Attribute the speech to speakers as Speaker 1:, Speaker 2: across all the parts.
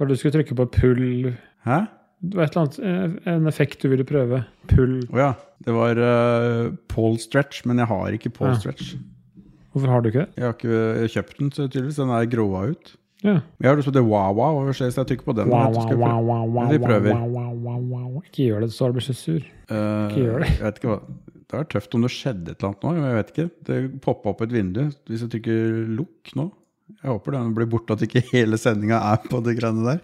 Speaker 1: Når du skulle trykke på pull
Speaker 2: Hæ?
Speaker 1: Det var et eller annet, eh, en effekt du ville prøve. Pull.
Speaker 2: Å ja. Det var eh, Paul Stretch, men jeg har ikke Paul
Speaker 1: Ja.
Speaker 2: Stretch.
Speaker 1: Hvorfor har du ikke det?
Speaker 2: Jeg har ikke jeg har kjøpt den, så tydeligvis. Den er gråa ut.
Speaker 1: Ja.
Speaker 2: Jeg har lyst på det Wawa. Hva skjer hvis jeg trykker på den?
Speaker 1: Wow,
Speaker 2: vet du,
Speaker 1: wow,
Speaker 2: skal jeg prøve.
Speaker 1: wow, wow, wow,
Speaker 2: Vi prøver.
Speaker 1: wow, wow, wow, wow. Ikke gjør det, så du blir så sur.
Speaker 2: Eh,
Speaker 1: Ikke gjør det.
Speaker 2: Jeg vet ikke hva. Det er tøft om det skjedde et eller annet nå. men Jeg vet ikke. Det poppa opp et vindu. Hvis jeg trykker lukk nå Jeg håper den blir borte, at ikke hele sendinga er på de greiene der.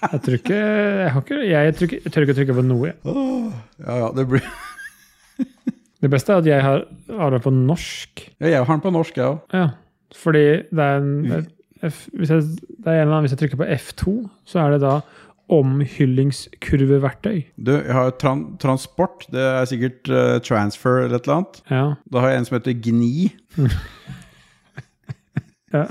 Speaker 1: Jeg tror ikke Jeg, har ikke, jeg, tror ikke- jeg tør ikke å trykke på noe. jeg.
Speaker 2: Åh, ja, ja, det blir
Speaker 1: Det beste er at jeg har, har det på norsk.
Speaker 2: ja, Jeg har den på norsk, jeg òg.
Speaker 1: Ja. Fordi det er en det er F, hvis, jeg, det er en eller annen, hvis jeg trykker på F2, så er det da omhyllingskurveverktøy.
Speaker 2: Du, Jeg har tran transport. Det er sikkert eh, transfer eller et eller annet.
Speaker 1: Ja.
Speaker 2: Da har jeg en som heter Gni.
Speaker 1: Ja.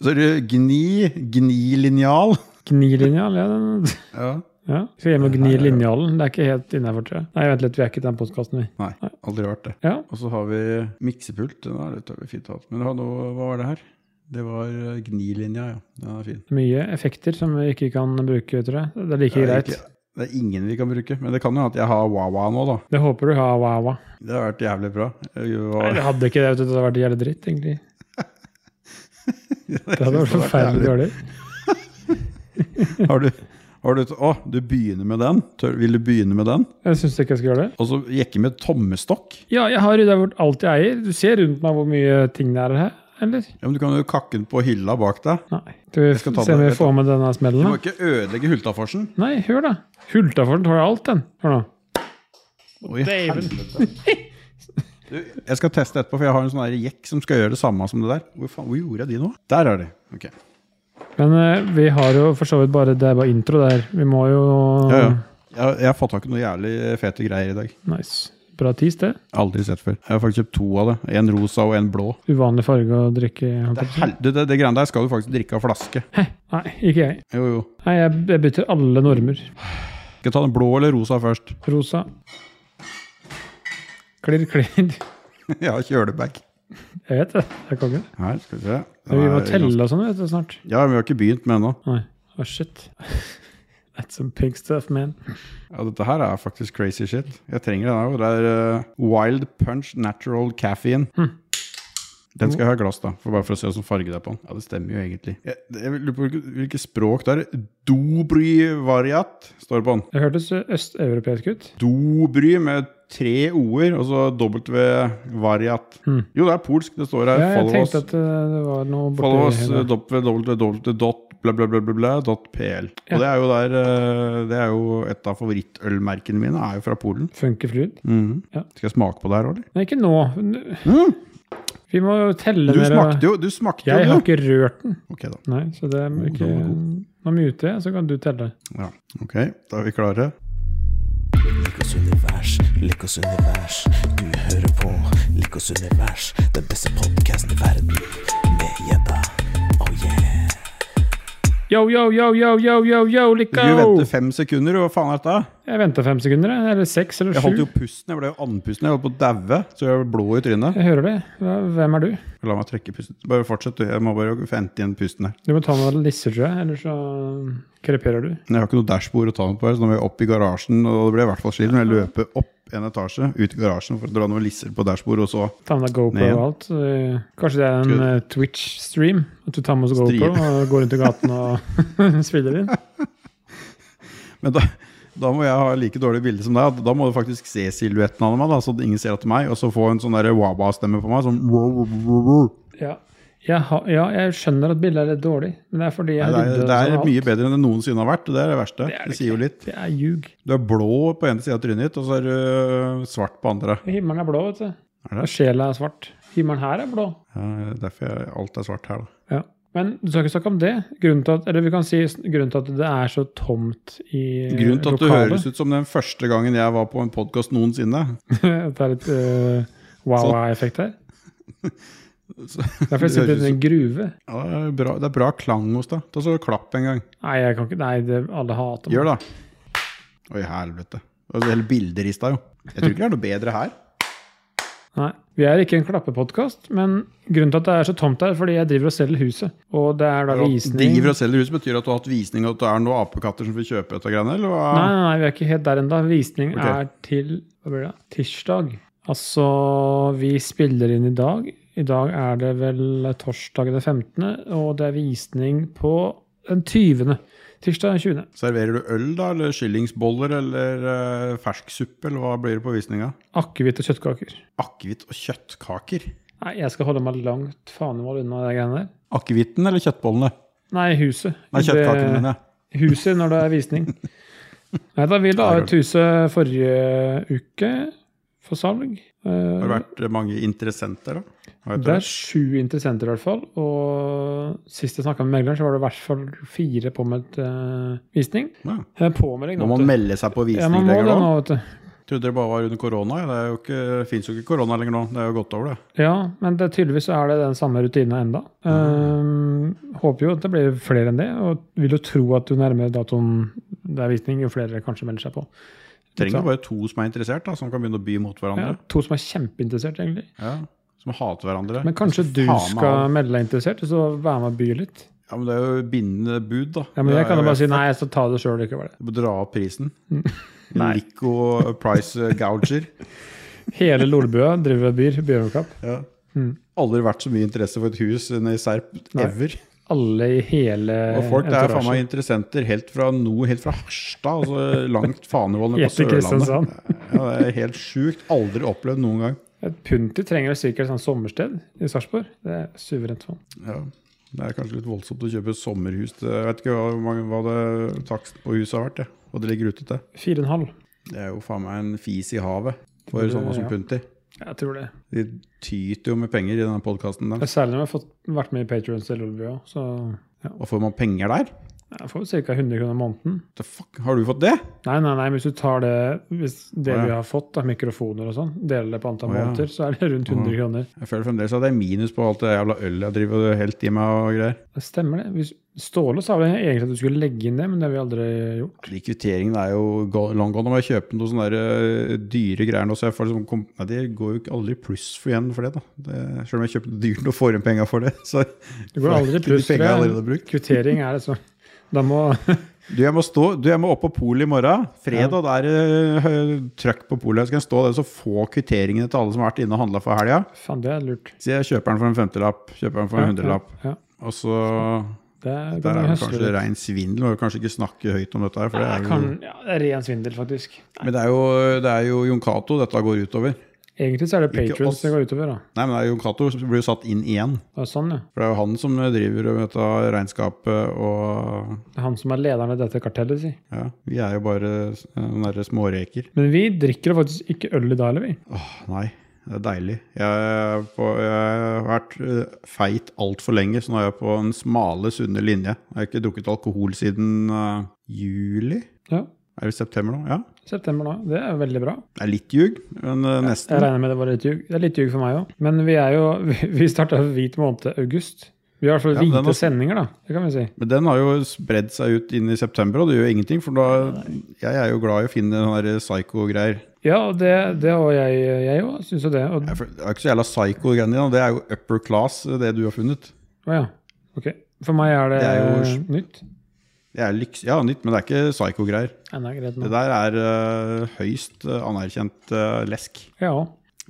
Speaker 2: Så er det Gni, Gni-linjal.
Speaker 1: Gnilinjal, ja. Den,
Speaker 2: Ja.
Speaker 1: ja. Skal hjem og gni linjalen. Det er ikke helt innafor, tror jeg. Nei, vent litt, vi er ikke i den podkasten, vi.
Speaker 2: Nei, aldri vært det.
Speaker 1: Ja.
Speaker 2: Og så har vi miksepult. Den er litt av- fint hatt. Men det har noe, hva var det her? Det var eh, Gni-linja, ja. Den er fin.
Speaker 1: Mye effekter som vi ikke kan bruke, tror jeg. Det er like
Speaker 2: Det er
Speaker 1: greit.
Speaker 2: ikke- Det er ingen vi kan bruke. Men det kan jo hende at jeg har Wawa nå, da.
Speaker 1: Det håper du har, wawa.
Speaker 2: Det har vært jævlig bra. Eh, Jeg
Speaker 1: Nei,
Speaker 2: var-
Speaker 1: det hadde ikke det. vet du, Det hadde vært jævlig dritt, egentlig.
Speaker 2: Jeg
Speaker 1: Det hadde
Speaker 2: synes
Speaker 1: vært forferdelig
Speaker 2: jævlig.
Speaker 1: dårlig.
Speaker 2: Har du, har du, å, du begynner med den? Tør, vil du begynne med den?
Speaker 1: Jeg syns ikke jeg skal gjøre det.
Speaker 2: Og så jekke med tommestokk?
Speaker 1: Ja, jeg har rydda bort alt jeg eier. Du ser rundt meg hvor mye ting det er her, eller?
Speaker 2: Ja, men Du kan jo kakke den på hylla bak deg.
Speaker 1: Nei. Skal vi
Speaker 2: skal ta
Speaker 1: se om
Speaker 2: det,
Speaker 1: vi
Speaker 2: vet
Speaker 1: får med denne
Speaker 2: Du
Speaker 1: smellen,
Speaker 2: må
Speaker 1: da?
Speaker 2: ikke ødelegge Hultaforsen.
Speaker 1: Nei, hør da. Hultaforden tar alt, den. Hør nå.
Speaker 2: Oi,
Speaker 1: Dæven.
Speaker 2: Du, jeg skal teste etterpå, for jeg har en sånn her jekk som skal gjøre det samme som det der. Hvor, faen, hvor gjorde jeg de nå? Der er de. Ok.
Speaker 1: Men eh, vi har jo for så vidt bare Det er bare intro der. Vi må jo
Speaker 2: Ja, ja. Jeg, jeg har fått tak i noen jævlig fete greier i dag.
Speaker 1: Nice. Bra tis, det.
Speaker 2: Aldri sett før. Jeg har faktisk kjøpt to av det. En rosa og en blå.
Speaker 1: Uvanlig farge å drikke. holdt
Speaker 2: Det,
Speaker 1: jeg på
Speaker 2: er
Speaker 1: å si.
Speaker 2: hel- du, det, det greiene der skal du faktisk drikke av flaske.
Speaker 1: Hæ? Nei, ikke jeg.
Speaker 2: Jo, jo.
Speaker 1: Nei, jeg, jeg bytter alle normer.
Speaker 2: Skal jeg ta den blå eller rosa først?
Speaker 1: Rosa. Klirr, klirr.
Speaker 2: jeg har kjølebag.
Speaker 1: Jeg vet det. Det er kongen.
Speaker 2: Her, skal vi se. Den
Speaker 1: Men vi må
Speaker 2: er
Speaker 1: telle
Speaker 2: ganske-
Speaker 1: og sånn, vet du, snart.
Speaker 2: Ja, vi har ikke begynt med ennå.
Speaker 1: Nei. Å, shit. That's some pink stuff, man.
Speaker 2: Ja, dette her er faktisk crazy shit. Jeg trenger den her. og Det er eh, Wild Punch Natural Caffeine.
Speaker 1: Hm.
Speaker 2: Den skal jeg ha i glass, da. For bare for å se hvilken farge det er på den. Ja, det stemmer jo egentlig. Jeg, jeg lurer på hvilket, hvilket språk det er. Dobry variat står det på den.
Speaker 1: Det hørtes ø, østeuropeisk ut.
Speaker 2: Dobry med tre o-er, og så W variat. Jo, det er polsk. Det står
Speaker 1: Hm.
Speaker 2: her.
Speaker 1: Ja, jeg
Speaker 2: follow us.
Speaker 1: tenkte at ø, det var noe borti
Speaker 2: Follow eh, us
Speaker 1: her.
Speaker 2: www.blablabla.pl.
Speaker 1: Ja.
Speaker 2: Og det er jo der eh, Det er jo et av favorittølmerkene mine. Er jo fra Polen.
Speaker 1: Funky fluid.
Speaker 2: Mhm.
Speaker 1: Ja. Mm.
Speaker 2: Skal jeg smake på det her òg, eller?
Speaker 1: Nei, ikke nå. Vi må jo telle
Speaker 2: Du
Speaker 1: mer, og-
Speaker 2: smakte jo, du smakte
Speaker 1: eh, Jeg
Speaker 2: jo,
Speaker 1: har
Speaker 2: du!
Speaker 1: ikke rørt den.
Speaker 2: Ok, da.
Speaker 1: Nei, så det er ikke
Speaker 2: den var
Speaker 1: Nå muter jeg, så kan du telle.
Speaker 2: Ja. Ok, da er vi klare.
Speaker 3: Likos univers, Likos univers. Du hører på Likos univers, den beste podkasten i verden. Med gjedda. Oh yeah.
Speaker 1: Yo, yo, yo, yo, yo, yo, yo,
Speaker 2: Du skulle
Speaker 1: Lico!
Speaker 2: vente fem sekunder, og hva faen er dette?
Speaker 1: Jeg venta fem sekunder, jeg, eller seks eller
Speaker 2: Jeg holdt
Speaker 1: sju.
Speaker 2: jo pusten, jeg ble jo andpusten, jeg holdt på å daue. Så jeg ble blå i trynet.
Speaker 1: Jeg hører det. Hva- Hvem er du?
Speaker 2: La meg trekke pusten. Bare fortsett, du. Jeg må bare hente igjen pusten her.
Speaker 1: Du må ta noen lisser, tror jeg, eller så kreperer du.
Speaker 2: Men Jeg har ikke noe dashbord å ta den på her, så da må jeg opp i garasjen. Og det ble i hvert fall slitt når jeg løper opp en etasje, ut i garasjen for å dra noen lisser på dashbordet, og så
Speaker 1: Ta med deg GoPro
Speaker 2: Nei, ja.
Speaker 1: og alt. så, eh, Kanskje det er en
Speaker 2: Skal-
Speaker 1: eh, Twitch-stream? At du tar med oss
Speaker 2: Stream.
Speaker 1: GoPro og går rundt i gaten og spiller inn?
Speaker 2: Men da, da må jeg ha like dårlig bilde som deg. at Da må du faktisk se silhuetten av meg, da, så ingen ser at det er meg. Og så få en sånn der waba-stemme på meg. Sånn
Speaker 1: Ja. Jeg, har- ja, jeg skjønner at bildet er litt dårlig, men det er fordi jeg
Speaker 2: Nei, det, er,
Speaker 1: rydder
Speaker 2: det
Speaker 1: sånn
Speaker 2: er
Speaker 1: alt.
Speaker 2: mye bedre enn det noensinne har vært. Det er det verste.
Speaker 1: er
Speaker 2: Det,
Speaker 1: det
Speaker 2: sier jo litt.
Speaker 1: Det er ljug.
Speaker 2: Du er blå på ene sida av trynet ditt, og så er du øh, svart på andre.
Speaker 1: Himmelen er blå, vet du.
Speaker 2: Er
Speaker 1: Og
Speaker 2: det?
Speaker 1: sjela er svart. Himmelen her er blå.
Speaker 2: Ja, derfor jeg, alt er svart her, da.
Speaker 1: Ja. Men du skal ikke snakke om det. Grunnen til at, eller vi kan si s- grunnen til at det er så tomt i eh,
Speaker 2: Grunnen til at du
Speaker 1: lokalet.
Speaker 2: høres ut som den første gangen jeg var på en podkast noensinne.
Speaker 1: at det er litt eh, wow-effekt her.
Speaker 2: Så-
Speaker 1: Derfor jeg sitter
Speaker 2: høres
Speaker 1: i en gruve.
Speaker 2: Ja, det, er bra, det er bra klang hos deg. Ta så klapp en gang.
Speaker 1: Nei, jeg kan ikke, nei det, alle hater meg.
Speaker 2: Gjør det. Oi, helvete. Og så Hele bildet rista jo. Jeg tror ikke det er noe bedre her.
Speaker 1: Nei. Vi er ikke en klappepodkast, men grunnen til at det er så tomt her, er fordi jeg driver og selger huset. Og det er da visning
Speaker 2: Driver og selger hus, betyr det at du har hatt visning, og at det er noen apekatter som får kjøpe dette greiene? Eller hva?
Speaker 1: Nei, nei, nei, vi er ikke helt der ennå. Visning
Speaker 2: Ah. Ok.
Speaker 1: er til hva blir det? tirsdag. Altså, vi spiller inn i dag. I dag er det vel torsdag den 15., og det er visning på den 20. Tirsdag den 20.
Speaker 2: Serverer du øl, da? Eller skillingsboller? Eller eh, fersksuppe? Eller hva blir det på visninga?
Speaker 1: Akevitt og kjøttkaker.
Speaker 2: Akevitt og kjøttkaker.
Speaker 1: Nei, jeg skal holde meg langt fanemål unna de greiene der.
Speaker 2: Akevitten eller kjøttbollene?
Speaker 1: Nei, huset.
Speaker 2: Nei, kjøttkakene,
Speaker 1: Det-
Speaker 2: mener jeg.
Speaker 1: huset når det er visning. Nei, da vi la ut huset forrige uke for salg.
Speaker 2: Har det
Speaker 1: Eh,
Speaker 2: vært mange interessenter, da? Hva heter
Speaker 1: Det er
Speaker 2: det?
Speaker 1: sju interessenter i hvert fall. Og sist jeg snakka med megleren, så var det i hvert fall fire påmeldt eh, visning.
Speaker 2: Ja.
Speaker 1: Eh, Påmelding,
Speaker 2: Må
Speaker 1: nå,
Speaker 2: man
Speaker 1: vet du.
Speaker 2: melde seg på
Speaker 1: Ja,
Speaker 2: visning
Speaker 1: man må
Speaker 2: lenger
Speaker 1: det
Speaker 2: nå?
Speaker 1: nå, vet du.
Speaker 2: Trodde det bare var under korona. ja. Det er jo ikke, finnes jo ikke korona lenger nå. Det er jo gått over, det.
Speaker 1: Ja, men det, tydeligvis så er det den samme rutinen enda.
Speaker 2: Mm.
Speaker 1: Eh, håper jo at det blir flere enn det, og vil jo tro at jo nærmere datoen det er visning, jo flere kanskje melder seg på.
Speaker 2: Trenger bare to som er interessert, da, som kan begynne å by mot
Speaker 1: Ja,
Speaker 2: hverandre.
Speaker 1: to som er kjempeinteressert, egentlig.
Speaker 2: Ja. Som hater hverandre.
Speaker 1: Men kanskje du
Speaker 2: Faen meg
Speaker 1: skal
Speaker 2: alt.
Speaker 1: melde deg interessert, og så være med og by litt?
Speaker 2: Ja, men det er jo bindende bud, da.
Speaker 1: Ja, men
Speaker 2: Det
Speaker 1: jeg
Speaker 2: er
Speaker 1: kan
Speaker 2: jo
Speaker 1: jo bare Mm. si
Speaker 2: F-
Speaker 1: nei, jeg skal ta det sjøl likevel.
Speaker 2: Du må dra opp prisen.
Speaker 1: Nei.
Speaker 2: Lico price eh, gouger.
Speaker 1: Hele Lolbua driver og byr Bjørnkapp.
Speaker 2: Ja. Aldri vært så mye interesse for et hus enn i Serp
Speaker 1: Mm. Nei.
Speaker 2: ever.
Speaker 1: Alle i hele
Speaker 2: Og folk det er faen meg
Speaker 1: entourage.
Speaker 2: interessenter helt fra nord, helt fra Harstad, altså langt Fanevoll nede på
Speaker 1: Helt til
Speaker 2: Sørlandet.
Speaker 1: Kristiansand.
Speaker 2: Ja, det er helt sjukt. Aldri opplevd noen gang.
Speaker 1: Et Punti trenger jo sikkert et sånt sommersted i Sarpsborg. Det er suverent for ham.
Speaker 2: Ja. Det er kanskje litt voldsomt å kjøpe sommerhus. til- Jeg vet ikke hva, hvor mange- hva det takst på huset har vært, jeg. og det ligger ute til.
Speaker 1: Fire og en halv.
Speaker 2: Det er jo faen meg en fis i havet for
Speaker 1: Det-
Speaker 2: sånne som
Speaker 1: ja.
Speaker 2: Punti.
Speaker 1: Jeg tror det.
Speaker 2: De tyter jo med penger i denne podkasten
Speaker 1: Det
Speaker 2: deres.
Speaker 1: er Særlig når vi har fått, vært med i Patrions til Lolbua. Så ja,
Speaker 2: Og får man penger der?
Speaker 1: jeg får ca. 100 kroner i måneden.
Speaker 2: The fuck, har du fått det?
Speaker 1: Nei, nei, nei, hvis du tar det hvis det
Speaker 2: Å, ja.
Speaker 1: vi har fått av mikrofoner og sånn, deler det på antall
Speaker 2: Å, ja.
Speaker 1: måneder, så er det rundt 100 kroner.
Speaker 2: Jeg føler fremdeles at det er minus på alt det jævla øl jeg driver og helt i meg og greier.
Speaker 1: Det stemmer det. Hvis, Ståle sa vel egentlig at du skulle legge inn det, men det har vi aldri gjort.
Speaker 2: De kvitteringene er jo go- long gone. Om jeg kjøper noen sånne der, eh, dyre greier nå, så jeg får liksom kom, Nei, det går jo ikke aldri i pluss for igjen for det, da. Det, selv om jeg kjøper dyrt og får igjen penger for det, så
Speaker 1: Det går aldri i pluss.
Speaker 2: De
Speaker 1: for
Speaker 2: pengene jeg
Speaker 1: det
Speaker 2: allerede har
Speaker 1: er-
Speaker 2: brukt.
Speaker 1: Kvittering er liksom Da må
Speaker 2: Du, jeg må, stå, du, jeg må opp på polet i morgen. Fredag det er uh, trøkk på polet. Jeg skal stå der og så få kvitteringene til alle som har vært inne og handla for helga.
Speaker 1: Faen, det er lurt.
Speaker 2: Så jeg kjøper den for en femtelapp, kjøper den for en hundrelapp.
Speaker 1: Ja, ja.
Speaker 2: Og så
Speaker 1: Det
Speaker 2: Der
Speaker 1: kan
Speaker 2: er
Speaker 1: vi
Speaker 2: det
Speaker 1: høsle
Speaker 2: kanskje
Speaker 1: litt.
Speaker 2: rein svindel. Må jo kanskje ikke snakke høyt om dette her, for det
Speaker 1: Nei,
Speaker 2: er jo
Speaker 1: kan- Ja, det er ren svindel, faktisk.
Speaker 2: Men det er jo, det er jo Jon Cato dette går utover.
Speaker 1: Egentlig så er det
Speaker 2: Ikke
Speaker 1: patrons
Speaker 2: oss.
Speaker 1: det går utover, da.
Speaker 2: Nei, men det er Jon Cato som blir jo satt inn igjen.
Speaker 1: Det er sånn, ja.
Speaker 2: For det er jo han som driver med dette regnskapet og
Speaker 1: Det er han som er lederen av dette kartellet, si.
Speaker 2: Ja, vi er jo bare noen derre småreker.
Speaker 1: Men vi drikker jo faktisk ikke øl i dag, eller vi?
Speaker 2: Åh, nei. Det er deilig. Jeg, er på, jeg har vært eh, feit altfor lenge, så nå er jeg på den smale, sunne linje. Jeg har ikke drukket alkohol siden eh, juli?
Speaker 1: Ja.
Speaker 2: Er det september nå? Ja.
Speaker 1: September nå. Det er jo veldig bra.
Speaker 2: Det er litt ljug, men eh,
Speaker 1: Jeg
Speaker 2: nesten.
Speaker 1: regner med det var litt ljug. Det er litt ljug for meg òg. Men vi er jo Vi, vi starta hvit måned august. Vi har i hvert fall
Speaker 2: Ja, men den
Speaker 1: hvite
Speaker 2: har-
Speaker 1: sendinger, da. Det kan vi si.
Speaker 2: Men den har jo spredd seg ut inn i september, og det gjør ingenting. For da, jeg er jo glad i å finne sånne der psycho-greier.
Speaker 1: Ja, og det, det og jeg jeg òg syns jo det. Og,
Speaker 2: Jeg føl- Det er ikke så jævla psycho-greiene dine, og det er jo upper class, eh, det du har funnet.
Speaker 1: å ja. Ok. For meg er det,
Speaker 2: Det er jo-
Speaker 1: eh, nytt.
Speaker 2: Det er lyks, ja, nytt, men det er ikke psycho-greier.
Speaker 1: Nei, det er greit nå.
Speaker 2: Det der er eh, høyst eh, anerkjent eh, lesk.
Speaker 1: Ja.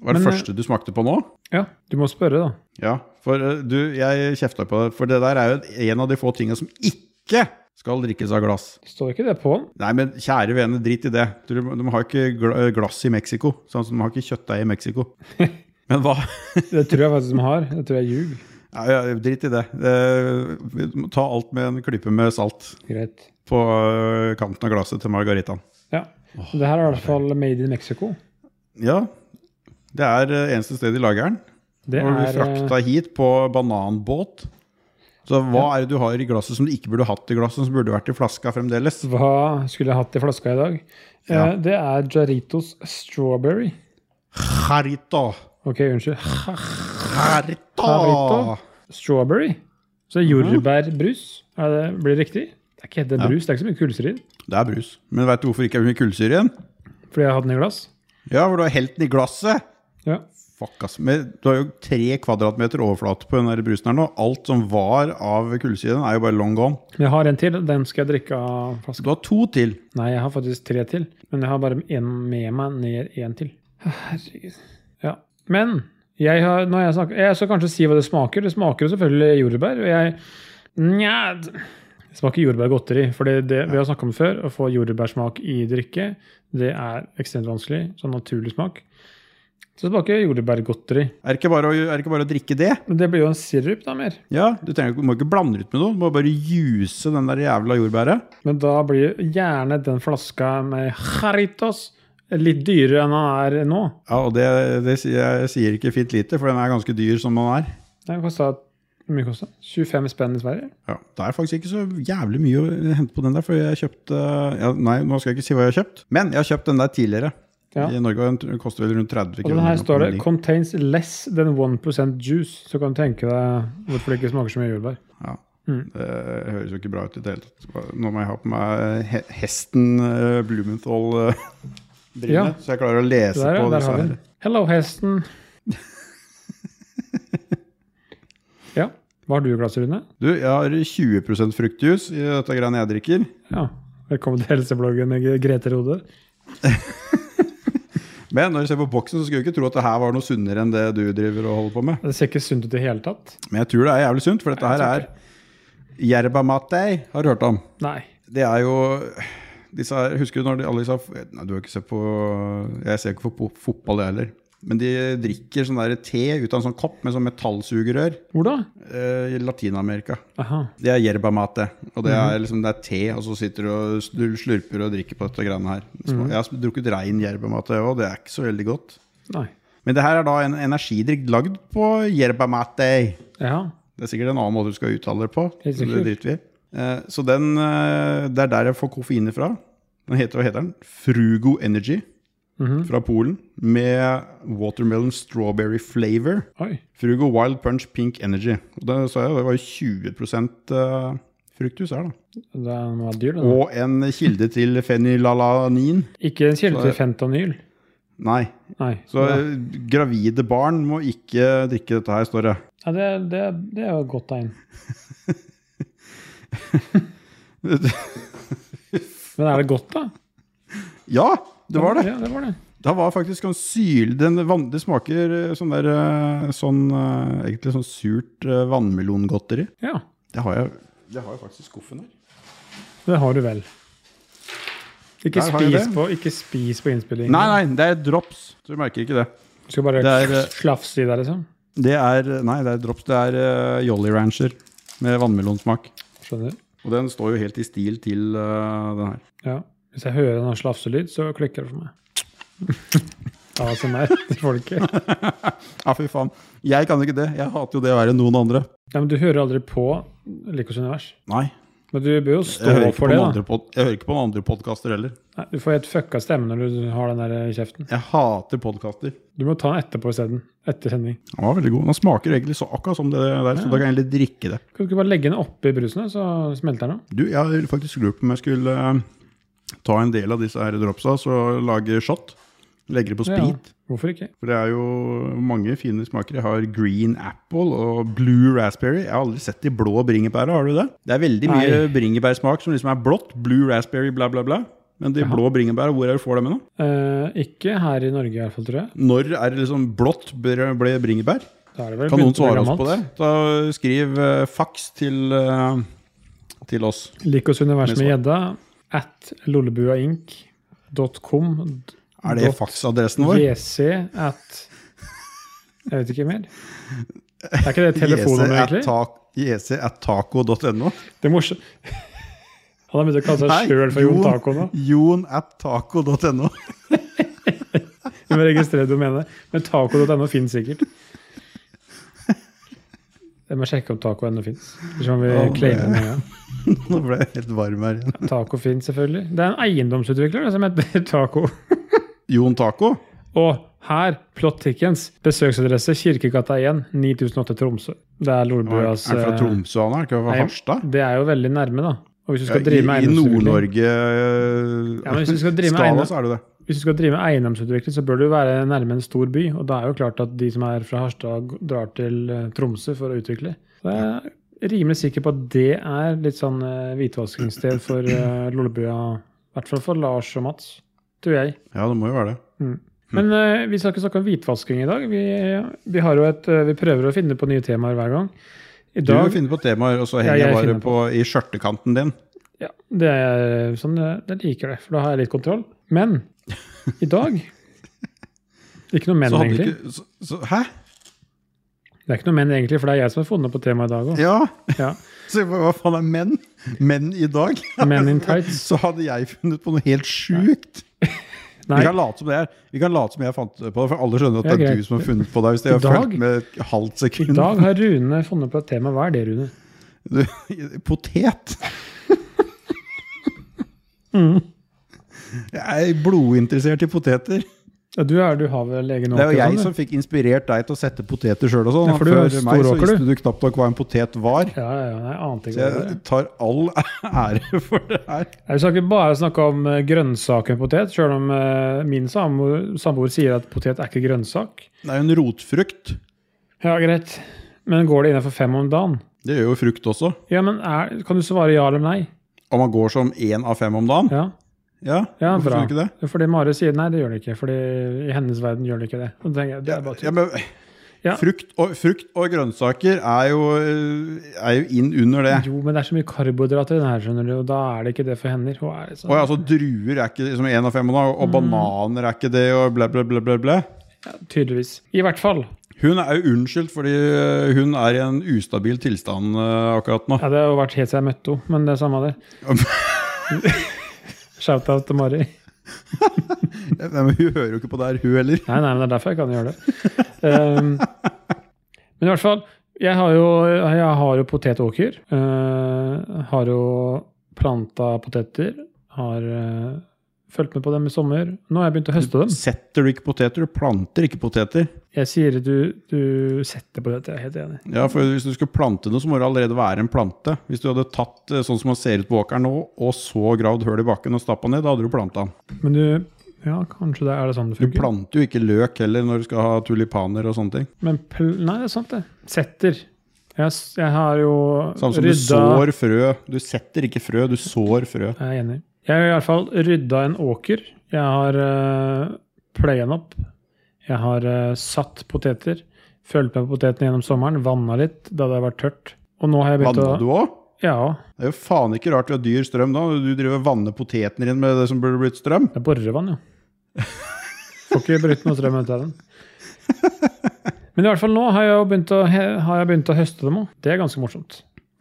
Speaker 2: Hva er det
Speaker 1: Men, eh,
Speaker 2: første du smakte på nå?
Speaker 1: ja. Du må spørre, da.
Speaker 2: Ja, for eh, du, jeg kjefta på det, for det der er jo en av de få tinga som ikke skal drikkes av glass.
Speaker 1: Står ikke det på den?
Speaker 2: Nei, men kjære vene, drit i det. Du, de har ikke gla- glass i Mexico, sånn som de har ikke kjøttdeig i Mexico. Men hva?
Speaker 1: Det tror jeg faktisk de har. Det tror jeg ljug.
Speaker 2: Ja, ja, drit i det. Eh, vi må ta alt med en klype med salt
Speaker 1: Greit.
Speaker 2: på eh, kanten av glasset til margaritaen.
Speaker 1: Ja. Det her er i hvert fall made in Mexico.
Speaker 2: Ja, det er eh, eneste sted i lageren.
Speaker 1: Det
Speaker 2: Når du
Speaker 1: er eh,
Speaker 2: frakta hit på bananbåt. Så hva er det du har i glasset som du ikke burde hatt i glasset, som burde vært i flaska fremdeles?
Speaker 1: Hva skulle jeg hatt i flaska i dag? Eh,
Speaker 2: Ja.
Speaker 1: Det er Jaritos strawberry.
Speaker 2: Jarito.
Speaker 1: Ok, unnskyld.
Speaker 2: Jarito.
Speaker 1: Jarito? Strawberry. Så jordbærbrus. Er det, blir det riktig? Det er ikke helt en brus, det er ikke så mye kullsyre i den.
Speaker 2: Det er brus. Men veit du hvorfor ikke er mye kullsyre igjen?
Speaker 1: Fordi jeg har hatt den i glass.
Speaker 2: Ja, for du har helt den i glasset.
Speaker 1: Ja.
Speaker 2: Fuck, ass. Men du har jo tre kvadratmeter overflate på den der brusen her nå. Alt som var av kullsyren, er jo bare long gone.
Speaker 1: Men jeg har en til. Den skal jeg drikke av flaska.
Speaker 2: Du har to til.
Speaker 1: Nei, jeg har faktisk tre til. Men jeg har bare en med meg ned en til. Herregud. Ja. Men jeg har, når jeg snakker Jeg skal kanskje si hva det smaker. Det smaker jo selvfølgelig jordbær. Og jeg Nja d- Det smaker jordbærgodteri. For det, det vi har snakka om før, å få jordbærsmak i drikke, det er ekstremt vanskelig. Sånn naturlig smak. Så det smaker jordbærgodteri.
Speaker 2: Er det ikke bare å, er det ikke bare å drikke det?
Speaker 1: Men det blir jo en sirup, da, mer.
Speaker 2: Ja, Du trenger, ikke- du må ikke blande det ut med noe. Du må bare juse den der jævla jordbæret.
Speaker 1: Men da blir gjerne den flaska med Jaritos litt dyrere enn den er nå.
Speaker 2: Ja, og det, det sier jeg jeg sier ikke fint lite, for den er ganske dyr som den er.
Speaker 1: Den kosta hvor mye kosta? 25 spenn i Sverige?
Speaker 2: Ja, Det er faktisk ikke så jævlig mye å hente på den der, for jeg kjøpte ja, Nei, nå skal jeg ikke si hva jeg har kjøpt, men jeg har kjøpt den der tidligere.
Speaker 1: Ja.
Speaker 2: I Norge og den tr- koster vel
Speaker 1: Og
Speaker 2: rundt 30 kroner.
Speaker 1: den her
Speaker 2: eller
Speaker 1: står det
Speaker 2: noe.
Speaker 1: 'contains less than 1 juice'. Så kan du tenke deg hvorfor det ikke smaker så mye jordbær.
Speaker 2: Ja.
Speaker 1: Mm.
Speaker 2: Det høres jo ikke bra ut i det hele tatt. Nå må jeg ha på meg he hesten uh, Blumenthal-brillene,
Speaker 1: Ja.
Speaker 2: så jeg klarer å lese
Speaker 1: Der, ja,
Speaker 2: på
Speaker 1: der
Speaker 2: disse
Speaker 1: har vi
Speaker 2: her.
Speaker 1: den. Hello, hesten. ja. Hva har du i glasset, Rune?
Speaker 2: Du, jeg har 20 fruktjuice i dette greiene jeg drikker.
Speaker 1: Ja. Velkommen til helsebloggen, Grete Rode.
Speaker 2: Men når jeg ser på boksen, så skulle jeg ikke tro at det her var noe sunnere enn det du driver og holder på med.
Speaker 1: Det ser ikke sunt ut i det hele tatt.
Speaker 2: Men jeg tror det er jævlig sunt, for dette her
Speaker 1: Nei,
Speaker 2: er Jerba matei, har du hørt om.
Speaker 1: Nei.
Speaker 2: Det er jo disse her, Husker du når de, alle disse Nei, du har ikke sett på Jeg ser ikke på po- fotball, jeg heller. Men de drikker sånn der te ut av en sånn kopp med sånn metallsugerør
Speaker 1: Hvor da?
Speaker 2: eh, i Latin-Amerika.
Speaker 1: Aha.
Speaker 2: Det er yerba mate. Og det er liksom det er te, og så sitter du og sl- slurper og drikker på dette greiene her. Små- Jeg har drukket rein yerba mate òg, det er ikke så veldig godt.
Speaker 1: Nei.
Speaker 2: Men det her er da en energidrikk lagd på yerba mate.
Speaker 1: Ja.
Speaker 2: Det er sikkert en annen måte du skal uttale det på.
Speaker 1: Helt
Speaker 2: men Det
Speaker 1: sikkert.
Speaker 2: driter vi i. Eh, Så den, eh, det er der jeg får koffein ifra. Den heter, hva heter den? Frugo Energy
Speaker 1: Mhm.
Speaker 2: fra Polen. Med watermelon strawberry flavor.
Speaker 1: Oi.
Speaker 2: Frugo Wild Punch Pink Energy. Og det sa jeg, det var jo 20 eh, fruktus her, da.
Speaker 1: Den var dyr, den. da.
Speaker 2: Og en kilde til fenylalanin.
Speaker 1: Ikke en kilde til
Speaker 2: Så-
Speaker 1: fentanyl.
Speaker 2: Nei.
Speaker 1: Nei.
Speaker 2: Så
Speaker 1: Ja.
Speaker 2: eh, gravide barn må ikke drikke dette her, står det.
Speaker 1: Ja, det, det, det er jo et godt tegn. Men er det godt, da?
Speaker 2: Ja, det var det.
Speaker 1: Ja, det var det.
Speaker 2: Det var faktisk sånn syl, den vann, Det smaker eh, sånn der eh, sånn, eh, Egentlig sånn surt eh, vannmelongodteri.
Speaker 1: Ja,
Speaker 2: Det har jeg Det har jeg faktisk i skuffen her.
Speaker 1: det har du vel. Ikke
Speaker 2: Der har jeg
Speaker 1: spis,
Speaker 2: det.
Speaker 1: på, ikke spis på innspillingen.
Speaker 2: Nei, nei, det er drops. Så du merker ikke det.
Speaker 1: Du skal bare
Speaker 2: Det er, eh,
Speaker 1: slafse i deg, liksom.
Speaker 2: Det er Nei, det er drops. Det er eh, Jolly Rancher med vannmelonsmak.
Speaker 1: Skjønner?
Speaker 2: Og den står jo helt i stil til eh, den her.
Speaker 1: Ja. Hvis jeg hører noen slafselyd, så klikker det for meg. ASMR til folket.
Speaker 2: Ja, fy faen. Jeg kan ikke det. Jeg hater jo det verre enn noen andre.
Speaker 1: Ja, men du hører aldri på Likos univers.
Speaker 2: Nei.
Speaker 1: Men du bør jo
Speaker 2: Jeg
Speaker 1: stå
Speaker 2: hører, ikke på
Speaker 1: for det,
Speaker 2: noen
Speaker 1: da.
Speaker 2: andre pod jeg hører ikke på noen andre podkaster heller.
Speaker 1: Nei, du får helt fucka stemme når du har den der i kjeften.
Speaker 2: Jeg hater podkaster.
Speaker 1: Du må ta den etterpå isteden. Etter sending.
Speaker 2: Den var veldig god. Den smaker egentlig så akkurat som det der, så da kan jeg heller drikke det.
Speaker 1: Kan du ikke bare legge den oppi brusen, så smelter den?
Speaker 2: Du, jeg har faktisk lurt på om jeg skulle eh, ta en del av disse her dropsa og lage shot. Legge det på
Speaker 1: Ja,
Speaker 2: sprit.
Speaker 1: Hvorfor ikke?
Speaker 2: For det er jo mange fine smaker. Jeg har green apple og blue raspberry. Jeg har aldri sett de blå bringebæra, har du det? Det er veldig mye
Speaker 1: Nei.
Speaker 2: bringebærsmak som liksom er blått. Blue raspberry, bla, bla, bla. Men de blå bringebæra, hvor er det du får dem hen? da?
Speaker 1: Eh, ikke her i Norge, i hvert fall, tror jeg.
Speaker 2: Når er det liksom blått ble ble bringebær?
Speaker 1: Da er det vel
Speaker 2: Kan noen
Speaker 1: begynt å bli
Speaker 2: svare oss på det?
Speaker 1: gammelt.
Speaker 2: Da skriv eh, faks til, eh, til oss.
Speaker 1: Lik oss univers
Speaker 2: Med
Speaker 1: med gjedda at lollebuainc.com
Speaker 2: Er det
Speaker 1: dot
Speaker 2: faksadressen vår?
Speaker 1: jc at Jeg vet ikke mer. Er ikke det telefonnummeret, egentlig?
Speaker 2: jc.taco.no.
Speaker 1: Det er morsomt. Han har begynt å kalle
Speaker 2: Nei,
Speaker 1: seg sjøl for Jon Taco nå.
Speaker 2: Jon at taco.no.
Speaker 1: Du må registrere domenet. Men taco.no finnes sikkert. Jeg må sjekke om taco ennå fins. Så kan vi
Speaker 2: Ja, det-
Speaker 1: claime det med en gang.
Speaker 2: Nå ble jeg helt varm her igjen.
Speaker 1: Taco Finn, selvfølgelig. Det er en eiendomsutvikler det, som heter Taco.
Speaker 2: Jon Taco?
Speaker 1: Og her, Plot Tickens. Besøksadresse Kirkegata 1, 9008 Tromsø. Det er
Speaker 2: Er han
Speaker 1: Lolbuas
Speaker 2: fra Tromsø, han er ikke fra
Speaker 1: Nei,
Speaker 2: Harstad?
Speaker 1: Det er jo veldig nærme, da. Og hvis du skal
Speaker 2: Ja,
Speaker 1: drive med
Speaker 2: I i
Speaker 1: eiendomsutvikling
Speaker 2: Nord-Norge eh,
Speaker 1: Ja, men hvis du skal drive med
Speaker 2: skala,
Speaker 1: eiendom-
Speaker 2: så er du det.
Speaker 1: Hvis du skal drive med eiendomsutvikling, så bør du være nærme en stor by. Og da er jo klart at de som er fra Harstad, g- drar til eh, Tromsø for å utvikle. Så jeg er rimelig sikker på at det er litt sånn eh, hvitvaskingssted for eh, Lollebua. I hvert fall for Lars og Mats, tror jeg.
Speaker 2: Ja, det må jo være det.
Speaker 1: Men eh, vi skal ikke snakke om hvitvasking i dag. Vi, vi, har jo et, eh, vi prøver å finne på nye temaer hver gang. I
Speaker 2: Du
Speaker 1: dag,
Speaker 2: finner på temaer, og så
Speaker 1: Ja,
Speaker 2: henger
Speaker 1: jeg
Speaker 2: jeg bare
Speaker 1: finner
Speaker 2: på. i skjørtekanten din.
Speaker 1: ja, det er sånn, eh, jeg liker det, for da har jeg litt kontroll. Men i dag Ikke noe men,
Speaker 2: Så hadde du
Speaker 1: egentlig.
Speaker 2: ikke så, så, Hæ?
Speaker 1: Det er ikke noe men, egentlig, for det er jeg som har funnet på temaet i dag òg.
Speaker 2: Ja!
Speaker 1: Ja.
Speaker 2: Så hva hva faen er menn? Menn i dag?
Speaker 1: Men in tights.
Speaker 2: Så hadde jeg funnet på noe helt sjukt. Vi
Speaker 1: Nei,
Speaker 2: kan late som det er Vi kan late som jeg fant på det, for alle skjønner at
Speaker 1: Ja,
Speaker 2: det er
Speaker 1: greit.
Speaker 2: du som har funnet på det. Hvis de
Speaker 1: I
Speaker 2: har
Speaker 1: dag-
Speaker 2: fulgt med et halvt
Speaker 1: i
Speaker 2: sekund.
Speaker 1: dag har Rune funnet på et tema. Hva er det, Rune?
Speaker 2: Du, potet!
Speaker 1: Mm.
Speaker 2: Jeg er blodinteressert i poteter.
Speaker 1: Ja, du, er, du har vel egen
Speaker 2: Det er jo
Speaker 1: åker,
Speaker 2: jeg
Speaker 1: sånn,
Speaker 2: som fikk inspirert deg til å sette poteter sjøl og sånn.
Speaker 1: Ja, for du er
Speaker 2: Før meg så
Speaker 1: storåker, du.
Speaker 2: visste du knapt nok hva en potet var.
Speaker 1: Ja, ja, ja, jeg ante ikke
Speaker 2: Så
Speaker 1: hva det
Speaker 2: jeg
Speaker 1: var.
Speaker 2: tar all ære for det her.
Speaker 1: Jeg skal ikke bare snakke om eh, grønnsaken potet, sjøl om eh, min samboer, samboer sier at potet er ikke grønnsak.
Speaker 2: Det er jo en rotfrukt.
Speaker 1: Ja, greit. Men går det innafor fem om dagen?
Speaker 2: Det gjør jo frukt også.
Speaker 1: Ja, men er, Kan du svare ja eller nei?
Speaker 2: Og man går som én av fem om dagen.
Speaker 1: Ja,
Speaker 2: Ja,
Speaker 1: ja
Speaker 2: hvorfor
Speaker 1: bra.
Speaker 2: tror du ikke det?
Speaker 1: Fordi Mari sier nei, det gjør det ikke. Fordi i hennes verden gjør det ikke det. Og da tenker jeg, det
Speaker 2: Ja,
Speaker 1: er bare
Speaker 2: ja,
Speaker 1: tull.
Speaker 2: men
Speaker 1: Ja.
Speaker 2: frukt, og, frukt og grønnsaker er jo, eh, er jo inn under det.
Speaker 1: Jo, men det er så mye karbohydrater i den her, skjønner du, og da er det ikke det for hender. Hun er
Speaker 2: Og
Speaker 1: sånn.
Speaker 2: ja, altså druer er ikke som én av fem, om dagen, og bananer er ikke det, og bla, bla, bla, bla, bla.
Speaker 1: ja, tydeligvis. I hvert fall.
Speaker 2: Hun er jo unnskyldt fordi eh, hun er i en ustabil tilstand eh, akkurat nå.
Speaker 1: Ja, det har jo vært helt siden jeg møtte henne, men det er samme det. Shout-out til Mari.
Speaker 2: Nei, men hun hører jo ikke på det her, hun heller.
Speaker 1: Nei, nei, men det er derfor jeg kan gjøre det. Ehm, men i hvert fall, jeg har jo, jeg har jo potetåker. eh, har jo planta poteter. Har uh, fulgt med på dem i sommer. Nå har jeg begynt å høste dem.
Speaker 2: Setter du ikke poteter? Du planter ikke poteter.
Speaker 1: Jeg sier du, du setter poteter, jeg er helt enig.
Speaker 2: Ja, for Hvis du skulle plante noe, så må det allerede være en plante. Hvis du hadde tatt eh, sånn som man ser ut på åkeren nå, og så gravd hull i bakken og stappa ned, da hadde du planta den.
Speaker 1: Men du Ja, kanskje det er det sånn det
Speaker 2: Du
Speaker 1: funker.
Speaker 2: planter jo ikke løk heller når du skal ha tulipaner og sånne ting.
Speaker 1: Men pl nei, det er sant, det. Setter. Jeg, s- jeg har jo
Speaker 2: Samme Sånn som du sår frø. Du setter ikke frø, du sår frø.
Speaker 1: Jeg er enig. Jeg har i hvert fall rydda en åker. Jeg har uh, pløya den opp. Jeg har eh, satt poteter. Følt med på potetene gjennom sommeren. Vanna litt da det har vært tørt. Og nå har jeg begynt
Speaker 2: Vanna du
Speaker 1: å
Speaker 2: òg?
Speaker 1: Ja,
Speaker 2: Det er jo faen ikke rart vi har dyr strøm da. når Du driver og vanner potetene dine med det som burde blitt strøm.
Speaker 1: det er borevann, jo. Får ikke brutt noe strøm ut av den. Men i hvert fall nå har jeg, jo begynt å, he- har jeg begynt å høste dem òg. Det er ganske morsomt.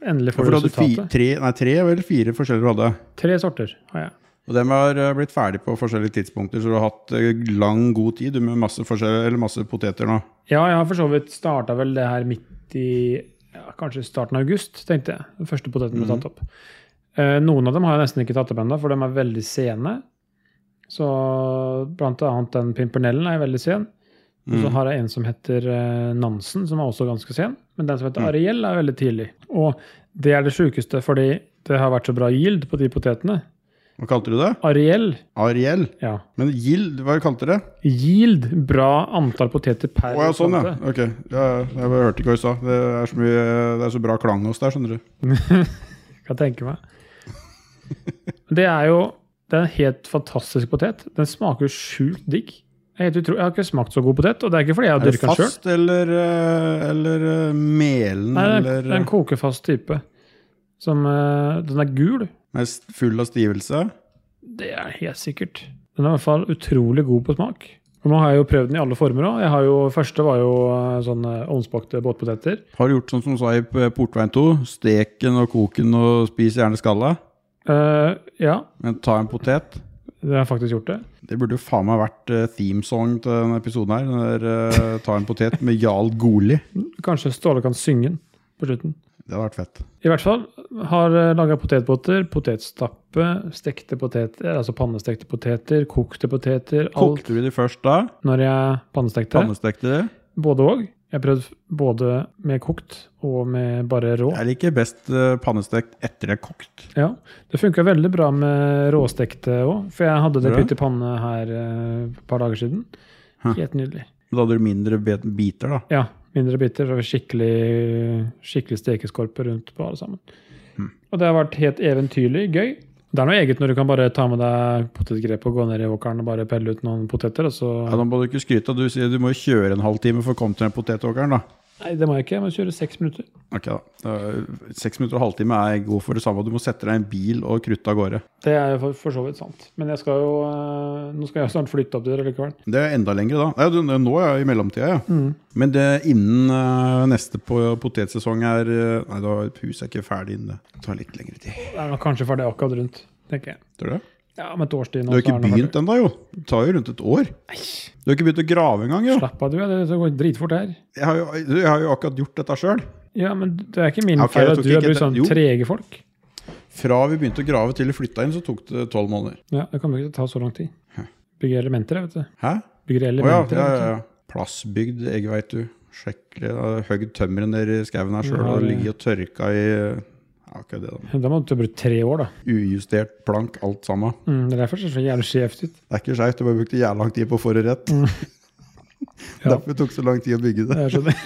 Speaker 1: Endelig får
Speaker 2: For
Speaker 1: du
Speaker 2: du hadde fi,
Speaker 1: resultatet.
Speaker 2: tre, nei, tre eller fire forskjeller du hadde.
Speaker 1: Tre sorter har jeg.
Speaker 2: Og dem har eh, blitt ferdig på forskjellige tidspunkter, så du har hatt eh, lang, god tid du, med masse, forskjell- eller masse poteter nå.
Speaker 1: Ja, jeg har for så vidt starta vel det her midt i ja, Kanskje starten av august, tenkte jeg. Den første poteten ble
Speaker 2: Mhm.
Speaker 1: tatt opp. Eh, noen av dem har jeg nesten ikke tatt opp ennå, for de er veldig sene. Så blant annet den pimpernellen er veldig sen. Og så
Speaker 2: Mm.
Speaker 1: har jeg en som heter eh, Nansen, som er også ganske sen. Men den som heter
Speaker 2: Mm.
Speaker 1: Ariel, er veldig tidlig. Og det er det sjukeste, fordi det har vært så bra yield på de potetene.
Speaker 2: Hva kalte du det?
Speaker 1: Ariel,
Speaker 2: Ariel?
Speaker 1: ja.
Speaker 2: Men gild, hva kalte du det?
Speaker 1: Yield, bra antall poteter per
Speaker 2: Å ja, sånn ja.
Speaker 1: plante.
Speaker 2: Ok. Ja, jeg bare hørte ikke hva du sa. Det er så, mye, det er så bra klang hos deg, skjønner du.
Speaker 1: kan jeg tenke meg. Det er jo det er en helt fantastisk potet. Den smaker jo sjukt digg. Jeg, er helt utro- jeg har ikke smakt så god potet, og det er ikke fordi jeg har
Speaker 2: Er det
Speaker 1: dyrka den sjøl.
Speaker 2: fast eller, eh, eller eh, melen
Speaker 1: Det er
Speaker 2: eller eh,
Speaker 1: en- en kokefast type. Som, eh, den er gul.
Speaker 2: Nei, s- full av stivelse?
Speaker 1: Det er helt sikkert. Den er i hvert fall utrolig god på smak. Og nå har jeg jo prøvd den i alle former òg. Første var jo eh, sånn eh, ovnsbakte båtpoteter.
Speaker 2: Har du gjort sånn som du sa i P- Portveien 2? Stek den og kok den og spis gjerne skalla.
Speaker 1: Eh, ja,
Speaker 2: Men ta en potet.
Speaker 1: det har jeg faktisk gjort det.
Speaker 2: Det burde jo faen meg vært eh, theme song til denne episoden her. Den der, eh, ta en potet med Jarl Goli.
Speaker 1: Kanskje Ståle kan synge den på slutten.
Speaker 2: Det hadde vært fett.
Speaker 1: I hvert fall har laga potetbåter, potetstappe, stekte poteter, altså pannestekte poteter, kokte poteter. Alt
Speaker 2: Kokte du de først da?
Speaker 1: når jeg pannestekte.
Speaker 2: Pannestekte de?
Speaker 1: Både og. Jeg har prøvd både med kokt og med bare rå.
Speaker 2: Jeg liker best eh, pannestekt etter det er kokt.
Speaker 1: Ja, Det funka veldig bra med råstekte òg, for jeg hadde det
Speaker 2: Bra.
Speaker 1: pytt i panne her eh, et par dager siden.
Speaker 2: Hæ.
Speaker 1: Helt nydelig.
Speaker 2: Men Da hadde du mindre bet- biter, da.
Speaker 1: Ja, mindre biter. Så skikkelig, skikkelig stekeskorpe rundt på alle sammen.
Speaker 2: Hmm.
Speaker 1: Og det har vært helt eventyrlig gøy. Det er noe eget når du kan bare ta med deg potetgrep og gå ned i åkeren og bare pelle ut noen poteter. Og så,
Speaker 2: Ja, da må du ikke skryte. Du sier du må jo kjøre en halvtime for å komme til den potetåkeren, da.
Speaker 1: Nei, det må jeg ikke. Jeg må kjøre seks minutter.
Speaker 2: Ok, da. Eh, Seks minutter og halvtime er god for det samme. Du må sette deg i en bil og krutte av gårde.
Speaker 1: Det er for, for så vidt sant. Men jeg skal jo, eh, nå skal jeg snart flytte opp der likevel.
Speaker 2: Det er enda lengre da. Nei, du, nå ja, i mellomtida, ja.
Speaker 1: Mm.
Speaker 2: Men det innen eh, neste på potetsesong er eh, Nei, da er huset er ikke ferdig innen det. Det tar litt lengre tid.
Speaker 1: Det er nok kanskje ferdig akkurat rundt, tenker jeg.
Speaker 2: Tror du det?
Speaker 1: Ja, om et års tid nå.
Speaker 2: Du
Speaker 1: så
Speaker 2: har ikke
Speaker 1: er den ferdig.
Speaker 2: begynt ennå, jo. Det tar jo rundt et år.
Speaker 1: Eish,
Speaker 2: Du har ikke begynt å grave engang, jo.
Speaker 1: Slapp av, du. Det det går dritfort her.
Speaker 2: Jeg har jo, du, jeg har jo akkurat gjort dette sjøl.
Speaker 1: Ja, men det er ikke min
Speaker 2: Ja, ok,
Speaker 1: feil
Speaker 2: jeg
Speaker 1: at
Speaker 2: tok
Speaker 1: du har
Speaker 2: ikke
Speaker 1: blitt
Speaker 2: den-
Speaker 1: sånn
Speaker 2: jo.
Speaker 1: trege folk.
Speaker 2: Fra vi begynte å grave til vi flytta inn, så tok det tolv måneder.
Speaker 1: Ja, Det kommer ikke til å ta så lang tid. Bygge elementer, vet du.
Speaker 2: Hæ?
Speaker 1: Bygger
Speaker 2: Å ja,
Speaker 1: elementer.
Speaker 2: ja,
Speaker 1: vet du.
Speaker 2: ja, ja. Plassbygd egg, veit du. Skikkelig. da, Høgd tømmeret nedi skauen her sjøl
Speaker 1: Ja,
Speaker 2: og
Speaker 1: det-
Speaker 2: ligget og tørka i Ja, ikke det, da.
Speaker 1: Da må du bruke tre år, da.
Speaker 2: Ujustert plank, alt sammen.
Speaker 1: Mm, det er derfor det ser så jævlig skjevt ut.
Speaker 2: Det er ikke skeivt, du bare brukte jævla lang tid på å få det rett.
Speaker 1: Mm. Ja.
Speaker 2: Derfor tok det så lang tid å bygge det.
Speaker 1: Jeg skjønner.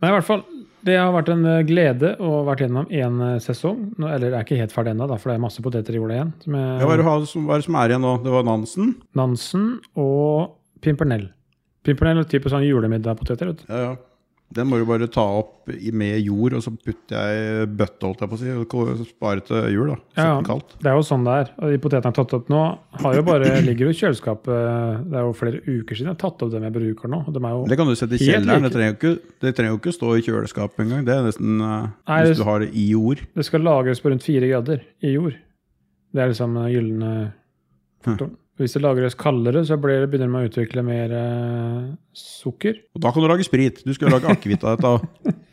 Speaker 1: Men i hvert fall, det har vært en eh, glede å ha vært gjennom én eh, sesong. Nå- Eller det er ikke helt ferdig ennå, da, for det er masse poteter i jorda igjen. Som
Speaker 2: Ja, hva, er
Speaker 1: er
Speaker 2: det, du har som- hva er det som er igjen nå? Det var Nansen?
Speaker 1: Nansen og pimpernell. Pimpernell er typisk sånn julemiddagpoteter. vet du.
Speaker 2: Ja, ja. Den må du bare ta opp i- med jord, og så putter jeg i bøtte, holdt jeg på å si, og ko- spare til jul, da. Sett
Speaker 1: Ja,
Speaker 2: den kaldt.
Speaker 1: det er jo sånn det er. Og de potetene jeg har tatt opp nå, har jo bare, ligger jo i kjøleskapet eh, Det er jo flere uker siden jeg har tatt opp dem jeg bruker nå. og De er jo
Speaker 2: Det kan du sette i
Speaker 1: Helt
Speaker 2: kjelleren,
Speaker 1: like.
Speaker 2: det trenger jo ikke, det trenger jo ikke stå i kjøleskapet engang. Det er nesten eh,
Speaker 1: Nei, det-
Speaker 2: Hvis du har det i jord.
Speaker 1: Det skal lagres på rundt fire grader i jord. Det er liksom den gylne faktoren. Hvis det lagres kaldere, så blir det, begynner man å utvikle mer eh, sukker.
Speaker 2: Og da kan du lage sprit! Du skal jo lage akevitt av dette. og-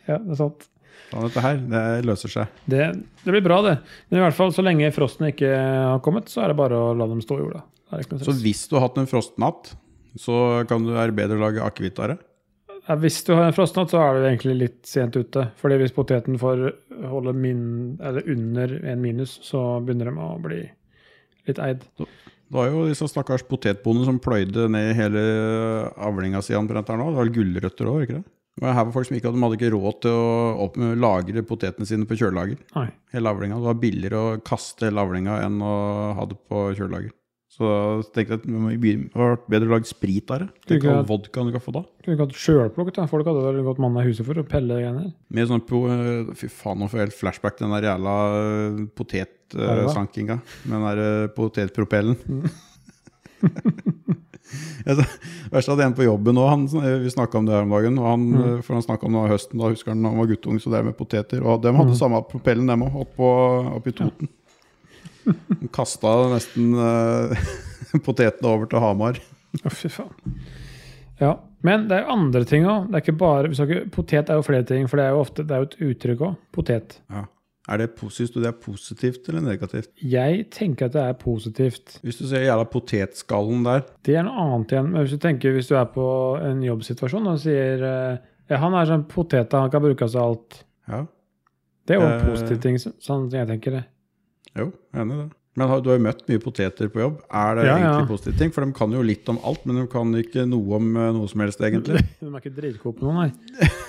Speaker 1: Ja, det er sant.
Speaker 2: Ta dette her, det løser seg.
Speaker 1: Det, det blir bra, det. Men i hvert fall så lenge frosten ikke har kommet, så er det bare å la dem stå i jorda. Det er ikke noe
Speaker 2: Så
Speaker 1: stress.
Speaker 2: hvis du har hatt en frostnatt, så kan du, er det bedre å lage akevitt av det.
Speaker 1: Ja, hvis du har en frostnatt, så er du egentlig litt sent ute. Fordi hvis poteten får holde min, eller under en minus, så begynner de å bli litt eid.
Speaker 2: Det var jo disse stakkars potetbondene som pløyde ned hele eh, avlinga si omtrent her nå. Det var vel gulrøtter òg, ikke det? Det var her var folk som ikke hadde, de hadde ikke råd til å opp, lagre potetene sine på kjølelager.
Speaker 1: Nei.
Speaker 2: Hele avlinga. Det var billigere å kaste hele avlinga enn å ha det på kjølelager. Så jeg tenkte jeg at vi må begynne- det hadde vært bedre å lage sprit av det. Tenk
Speaker 1: Ikke-
Speaker 2: all vodkaen du kan få da.
Speaker 1: Kunne ikke hatt sjølplukket, da. Folk hadde vel gått mann av huset for å pelle greiene.
Speaker 2: Med sånn po Fy faen, nå får jeg helt flashback til den der jævla eh,
Speaker 1: Elva.
Speaker 2: potetsankinga. Med den der eh, potetpropellen. Jeg sa- Verst at en på jobben òg, eh, vi snakka om det her om dagen. Og han, eh, For han snakka om det her høsten, da husker han han var guttung, så det er med poteter. Og dem hadde samme propellen, dem òg, oppi Toten. De kasta nesten eh, potetene over til Hamar.
Speaker 1: Å, fy faen. Ja. Men det er jo andre ting òg. Det er ikke bare vi skal ikke, Potet er jo flere ting, for det er jo ofte det er jo et uttrykk òg. Potet.
Speaker 2: Ja. Er det, pos- synes du det er positivt eller negativt?
Speaker 1: Jeg tenker at det er positivt.
Speaker 2: Hvis du ser jævla potetskallen der,
Speaker 1: Det er noe annet igjen. Men hvis du tenker hvis du er på en jobbsituasjon og sier eh, ja, han er sånn potet, han kan brukes av alt.
Speaker 2: ja.
Speaker 1: Det er jo
Speaker 2: Eh.
Speaker 1: en positiv ting, så- sånn jeg tenker det.
Speaker 2: Jo, jeg er enig i det. Men har, du har jo møtt mye poteter på jobb. Er det
Speaker 1: Ja, ja.
Speaker 2: egentlig positive ting? For de kan jo litt om alt, men de kan ikke noe om eh, noe som helst, egentlig.
Speaker 1: De er ikke dritgode på noe, nei.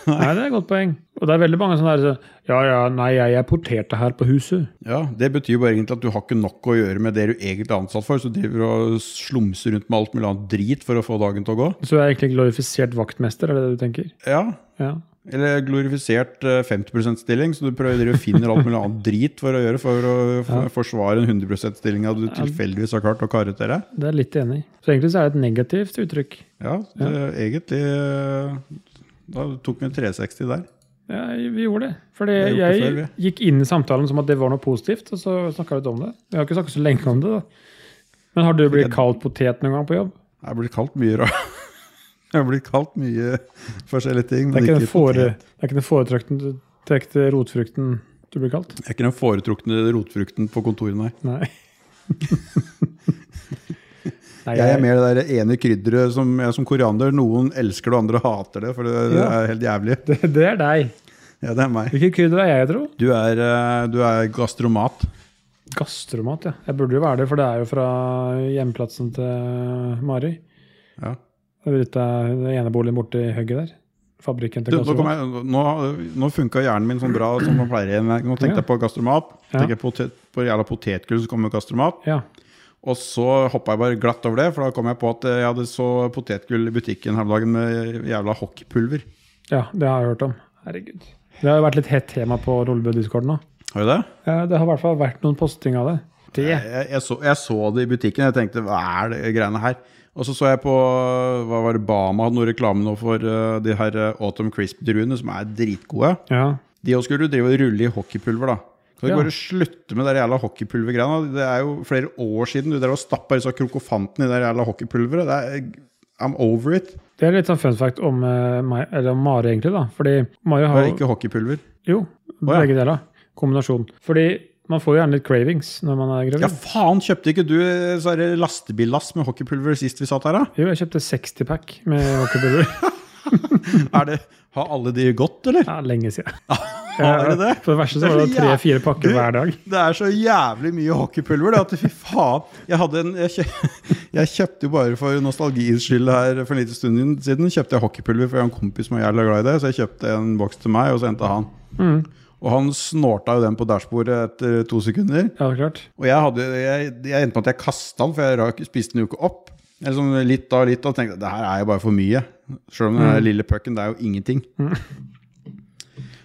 Speaker 1: nei. Det er et godt poeng. Og det er veldig mange sånne der så, Ja, ja, nei, jeg er potete her på huset.
Speaker 2: Ja, Det betyr jo bare egentlig at du har ikke nok å gjøre med det du egentlig er ansatt for, så du driver og slumser rundt med alt mulig annet drit for å få dagen til å gå.
Speaker 1: Så jeg er egentlig glorifisert vaktmester, er det det du tenker?
Speaker 2: Ja,
Speaker 1: Ja.
Speaker 2: eller glorifisert eh, 50 %-stilling, så du prøver å finne alt mulig annet drit for å gjøre for å for, forsvare en 100 %-stillinga du tilfeldigvis har klart å karre til deg.
Speaker 1: Det er jeg litt enig i. Så egentlig så er det et negativt uttrykk.
Speaker 2: Ja, det, egentlig eh, Da tok vi en 360 der.
Speaker 1: Ja, vi gjorde det. Fordi
Speaker 2: Vi har gjort
Speaker 1: jeg
Speaker 2: det før,
Speaker 1: gikk inn i samtalen som at det var noe positivt, og så snakka vi litt om det. Vi har ikke snakket så lenge om det, da. Men har du blitt kalt potet noen gang på jobb?
Speaker 2: Jeg er blitt kalt mye rar. Jeg er blitt kalt mye forskjellige ting.
Speaker 1: Det er
Speaker 2: Men
Speaker 1: ikke
Speaker 2: ikke
Speaker 1: den, fore,
Speaker 2: potet.
Speaker 1: det er ikke den foretrukne tekte rotfrukten du blir kalt?
Speaker 2: Jeg er ikke den foretrukne rotfrukten på kontoret, nei.
Speaker 1: Nei. Nei,
Speaker 2: Jeg er
Speaker 1: jeg-
Speaker 2: mer det der ene krydderet som, jeg som koreaner. Noen elsker det, og andre hater det, for det, det
Speaker 1: Ja.
Speaker 2: er helt jævlig.
Speaker 1: Det, det er deg.
Speaker 2: Ja, det er meg.
Speaker 1: Hvilket krydder er jeg, tro?
Speaker 2: Du er, eh, du er gastromat.
Speaker 1: Gastromat, ja. Jeg burde jo være det, for det er jo fra hjemplassen til Mari.
Speaker 2: Ja.
Speaker 1: Det er ute av Den ene boligen borte i høgget der. Fabrikken
Speaker 2: Du,
Speaker 1: til
Speaker 2: nå, kom
Speaker 1: Gastromat.
Speaker 2: jeg, nå, nå funka hjernen min sånn bra som den pleier. igjen. Nå tenkte jeg på gastromat.
Speaker 1: Ja.
Speaker 2: Tenker jeg potet, på jævla potetgull som kommer med gastromat.
Speaker 1: Ja.
Speaker 2: Og så hoppa jeg bare glatt over det, for da kom jeg på at jeg hadde så potetgull i butikken her om dagen med jævla hockeypulver.
Speaker 1: ja, det har jeg hørt om. Herregud. Det har jo vært litt hett tema på Rollebø-discorden nå.
Speaker 2: Har du det?
Speaker 1: Ja, det har i hvert fall vært noen posting av det. Det
Speaker 2: Jeg, jeg, så, jeg så det i butikken. Jeg tenkte hva er det greiene her? Og så så jeg på hva var det, Bama hadde noe reklame nå for eh, de her eh, Autumn Crisp-druene, som er dritgode.
Speaker 1: Ja.
Speaker 2: De også skulle drive og rulle i hockeypulver, da. Kan du ikke
Speaker 1: Ja.
Speaker 2: bare slutte med de der jævla hockeypulvergreiene? da? Det er jo flere år siden du drev og stappa disse krokofantene i det der jævla hockeypulveret. Det er, I'm over it.
Speaker 1: Det er litt sånn fun fact om, eh, meg, eller om Mari, egentlig. da. Fordi Mari
Speaker 2: Det
Speaker 1: har
Speaker 2: er
Speaker 1: jo
Speaker 2: ikke hockeypulver.
Speaker 1: Jo,
Speaker 2: ja.
Speaker 1: begge deler. Kombinasjon. Fordi man får jo gjerne litt cravings når man er gravid.
Speaker 2: Ja, faen, kjøpte ikke du eh, så er det lastebillass med hockeypulver sist vi satt her, da?
Speaker 1: Jo, jeg kjøpte 60-pack med hockeypulver.
Speaker 2: Er det, har alle de gått, eller?
Speaker 1: Ja, lenge siden.
Speaker 2: Har de det?
Speaker 1: For det verste så
Speaker 2: Det
Speaker 1: var
Speaker 2: er
Speaker 1: det
Speaker 2: så jæv-
Speaker 1: tre-fire pakker
Speaker 2: Du-
Speaker 1: hver dag.
Speaker 2: Det er så jævlig mye hockeypulver det at fy faen. Jeg, hadde en, jeg, kjø, jeg kjøpte jo bare for nostalgiens skyld her for en liten stund siden. Kjøpte jeg hockeypulver for jeg har en kompis som er jævlig glad i det. Så jeg kjøpte en boks til meg, og så endte han. Og han snorta jo den på dashbordet etter to sekunder.
Speaker 1: Ja, det er klart.
Speaker 2: Og jeg, hadde, jeg, jeg endte med at jeg kasta den, for jeg rakk, spiste den jo ikke opp. Eller sånn litt da og litt, og tenkte det her er jo bare for mye. Sjøl om den
Speaker 1: Mm.
Speaker 2: her lille pucken, det er jo ingenting.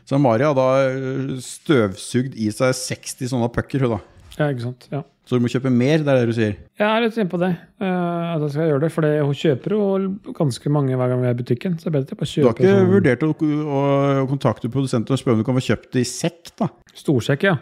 Speaker 2: Så Maria har da eh, støvsugd i seg 60 sånne pucker, hun da.
Speaker 1: Ja, ikke sant. Ja.
Speaker 2: Så du må kjøpe mer, det er det du sier?
Speaker 1: Jeg er litt inne på det. eh, at jeg skal gjøre det, for det- hun kjøper jo ganske mange hver gang vi er i butikken. Så det er bedre at jeg bare
Speaker 2: Du har
Speaker 1: kjøper
Speaker 2: ikke
Speaker 1: sånn
Speaker 2: vurdert å, å, å kontakte produsenten og spørre om du kan få kjøpt det i sekk, da?
Speaker 1: storsekk, ja.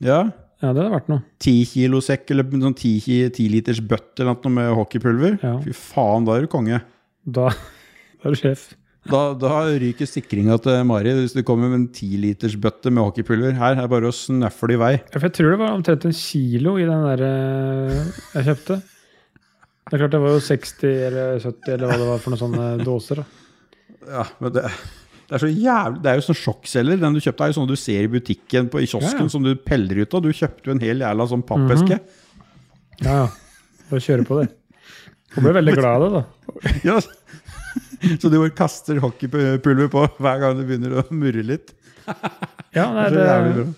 Speaker 2: Ja.
Speaker 1: Ja, det hadde vært noe.
Speaker 2: Ti kilo sekk eller en sånn ti, ki- ti liters bøtte eller noe med hockeypulver?
Speaker 1: Ja.
Speaker 2: Fy faen, da er du konge.
Speaker 1: Da, da er du sjef.
Speaker 2: Da, da ryker sikringa til Mari hvis du kommer med en tilitersbøtte med hockeypulver. Her er det bare å snøfle i vei.
Speaker 1: Ja, for jeg tror det var omtrent en kilo i den der eh, jeg kjøpte. Det er klart det var jo 60 eller 70 eller hva det var for noen sånne dåser. da.
Speaker 2: Ja, men det, det er så jævlig Det er jo sånn sjokkselger. Den du kjøpte, er jo sånn du ser i butikken på, i kiosken
Speaker 1: Ja, ja.
Speaker 2: som du peller ut av. Du kjøpte jo en hel jævla sånn pappeske.
Speaker 1: Ja, ja. Bare kjøre på det. Hun ble veldig glad av det, da.
Speaker 2: Ja, så- så du bare kaster hockeypulver på hver gang du begynner å murre litt.
Speaker 1: Ja, nei,
Speaker 2: Det er så jævlig
Speaker 1: det,
Speaker 2: bra.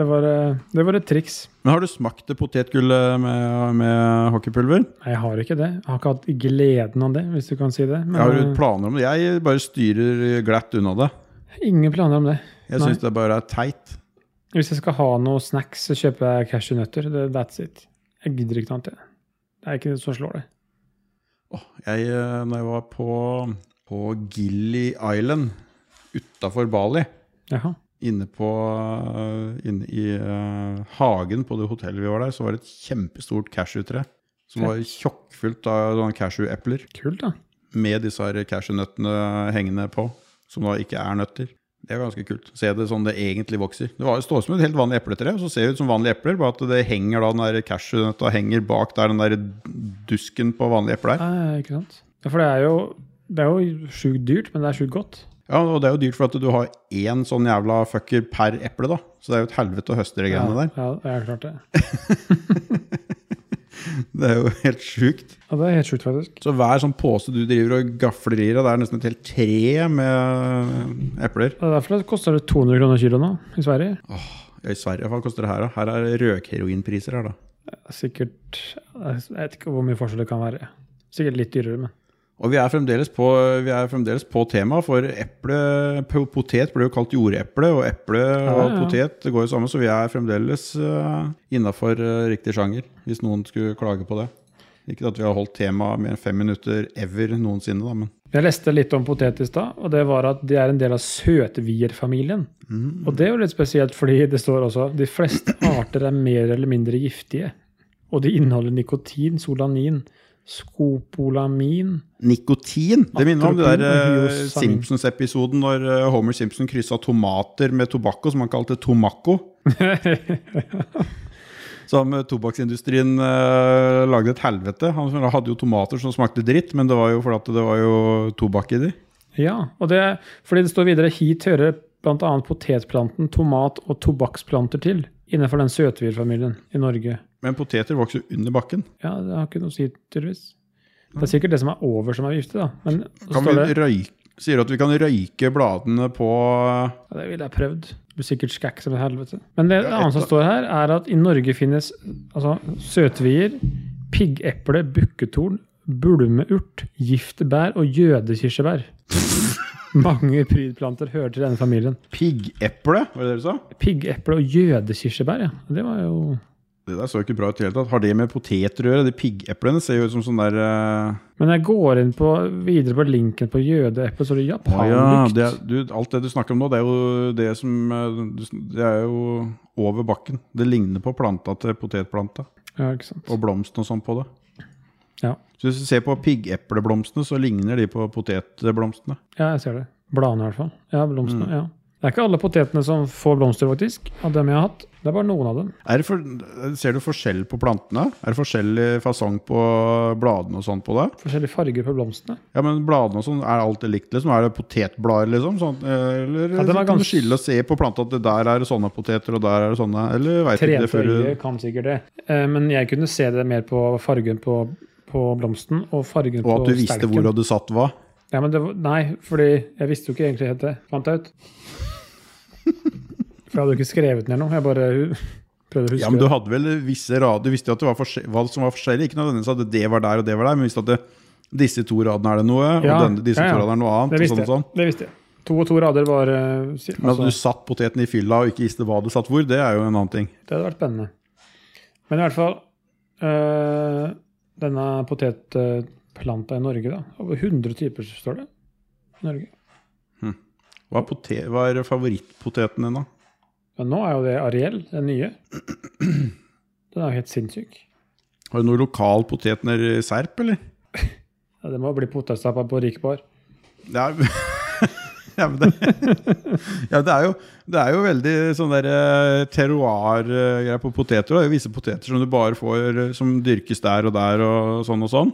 Speaker 1: det, var, eh, det var et triks.
Speaker 2: Men har du smakt det potetgullet med, med hockeypulver?
Speaker 1: Nei, jeg har ikke det. Jeg har ikke hatt gleden av det, hvis du kan si det. Men
Speaker 2: Har du planer om det? Jeg bare styrer glatt unna det.
Speaker 1: eh, ingen planer om det.
Speaker 2: Jeg
Speaker 1: Nei.
Speaker 2: syns det bare er teit.
Speaker 1: Hvis jeg skal ha noe snacks, så kjøper jeg cashewnøtter. Det- That's it. Jeg gidder ikke noe annet. jeg. Det er ikke det som slår det.
Speaker 2: Åh, jeg, eh, når jeg var på, på Gilly Island utafor Bali,
Speaker 1: Jaha.
Speaker 2: inne, på, eh, inne i eh, hagen på det hotellet vi var der, så var det et kjempestort cashewtre. Som var tjokkfullt av sånne cashewepler
Speaker 1: Kult, da.
Speaker 2: med disse her cashewnøttene hengende på. Som da ikke er nøtter. Det er ganske kult. Se det sånn det egentlig vokser. Det var, står som et helt vanlig epletre, og så ser det ut som vanlige epler, bare at det henger da den der cashewnøtta henger bak der den der dusken på vanlige epler.
Speaker 1: Nei, ikke sant. Ja, for det er jo, det er jo sjukt dyrt, men det er sjukt godt.
Speaker 2: Ja, og det er jo dyrt for at du har én sånn jævla fucker per eple, da. Så det er jo et helvete å høste de greiene der.
Speaker 1: Ja, det er klart det.
Speaker 2: Det er jo helt sjukt.
Speaker 1: Ja, det er helt sjukt, faktisk.
Speaker 2: Så hver sånn pose du driver og gafler i deg, det er nesten et helt tre med epler.
Speaker 1: Det er derfor det koster det 200 kroner kilo nå, i Sverige.
Speaker 2: Ja, I Sverige hva koster det her, da? Her er det røkheroinpriser her, da.
Speaker 1: Sikkert Jeg vet ikke hvor mye forskjell det kan være. Sikkert litt dyrere, men
Speaker 2: Og vi er fremdeles på, vi er fremdeles på tema, for eple, po- potet ble jo kalt jordeple, og eple og
Speaker 1: ja.
Speaker 2: potet det går jo sammen, så vi er fremdeles uh, innafor riktig sjanger, hvis noen skulle klage på det. Ikke at vi har holdt temaet mer enn fem minutter ever noensinne, da, men
Speaker 1: Jeg leste litt om potet i stad, og det var at de er en del av søtvier-familien.
Speaker 2: Mm.
Speaker 1: Og det er jo litt spesielt, fordi det står også de fleste arter er mer eller mindre giftige. Og de inneholder nikotin, solanin, skopolamin
Speaker 2: Nikotin! Det minner meg om det der
Speaker 1: Atropin og
Speaker 2: eh,
Speaker 1: hyoscyamin.
Speaker 2: Simpsons-episoden når eh, Homer Simpson kryssa tomater med tobakko, som han kalte tomakko. Som eh, tobakksindustrien eh, lagde et helvete. Han hadde jo tomater som smakte dritt, men det var jo fordi at det var jo tobakk i de.
Speaker 1: Ja, og det, fordi det står videre hit hører bl.a. potetplanten, tomat og tobakksplanter til innenfor den søtvirfamilien i Norge.
Speaker 2: Men poteter vokser jo under bakken.
Speaker 1: Ja, det har ikke noe å si, tydeligvis. Det er sikkert det som er over, som er giftig, da. Men så
Speaker 2: Kan
Speaker 1: står det,
Speaker 2: vi røyke? Sier du at vi kan røyke bladene på eh,
Speaker 1: ja, det ville jeg prøvd. Du er sikkert skækk som et helvete. Men det, det annet som står her, er at i Norge finnes altså, søtvier, piggeple, bukketorn, bulmeurt, giftbær og jødekirsebær. Mange prydplanter hører til denne familien.
Speaker 2: piggeple? Var det det du sa?
Speaker 1: Piggeple og jødekirsebær, ja. Det var jo
Speaker 2: Det der så jo ikke bra ut i det hele tatt. Har det med poteter å gjøre? De piggeplene ser jo ut som sånn der eh,
Speaker 1: Men jeg går inn på, videre på linken på jødeeple, så er det
Speaker 2: Å ja,
Speaker 1: japanlukt.
Speaker 2: det er, du, alt det du snakker om nå, det er jo det som eh, du sn- Det er jo over bakken. Det ligner på planta til potetplanta.
Speaker 1: ja, ikke sant.
Speaker 2: Og blomsten og sånn på det.
Speaker 1: Ja.
Speaker 2: Så hvis du ser på piggepleblomstene, så ligner de på potetblomstene.
Speaker 1: ja, jeg ser det. Bladene, i hvert fall. Ja, blomstene.
Speaker 2: Mm.
Speaker 1: ja. Det er ikke alle potetene som får blomster, faktisk. Av dem jeg har hatt. Det er bare noen av dem.
Speaker 2: Er det for, ser du forskjell på plantene? Er det forskjellig fasong på bladene og sånn på det?
Speaker 1: Forskjellige farger på blomstene.
Speaker 2: Ja, men bladene og sånn, er alt det likt, liksom? Er det potetblader, liksom? Sånn, eller
Speaker 1: Ja, den er
Speaker 2: kan du
Speaker 1: gans-
Speaker 2: skille og se på planta at det der er det sånne poteter, og der er det sånne? Eller veit ikke det før du
Speaker 1: Trentøyet kan sikkert det. Eh, Men jeg kunne se det mer på fargen på, på blomsten og fargen
Speaker 2: Og
Speaker 1: på
Speaker 2: at du visste
Speaker 1: stelken.
Speaker 2: hvor du hadde satt hva?
Speaker 1: Ja, men det var, nei, fordi jeg visste jo ikke egentlig helt det. Fant jeg ut. For jeg hadde jo ikke skrevet ned noe. Jeg bare hu- prøvde å huske
Speaker 2: Ja, men du
Speaker 1: det.
Speaker 2: hadde vel visse rader Du visste jo at det var forskjell- hva som var forskjellig. Ikke nødvendigvis at det var der og det var der, men visste at det, disse to radene er det noe,
Speaker 1: Ja,
Speaker 2: og denne, disse
Speaker 1: ja, ja.
Speaker 2: to radene er noe annet.
Speaker 1: Det
Speaker 2: og
Speaker 1: visste,
Speaker 2: sånn og sånn.
Speaker 1: jeg. det visste jeg. To og to rader var eh, si-
Speaker 2: Men at
Speaker 1: altså,
Speaker 2: du satt poteten i fylla og ikke visste hva du satt hvor, det er jo en annen ting.
Speaker 1: Det hadde vært spennende. Men i hvert fall eh, Denne potetplanta i Norge, da. Over 100 typer, står det. i Norge.
Speaker 2: Hva er, pote- hva er favorittpoteten din, da?
Speaker 1: Men nå er jo det Ariel, den nye. Den er jo helt sinnssyk.
Speaker 2: Har du noe lokal potet nede i Serp, eller?
Speaker 1: Ja, det må bli potetstappa på rik bar.
Speaker 2: Det er, ja, men det, ja, det er jo Det er jo veldig sånn der eh, terroir-greier på poteter. Det er jo visse poteter som du bare får eh, som dyrkes der og der og sånn og sånn.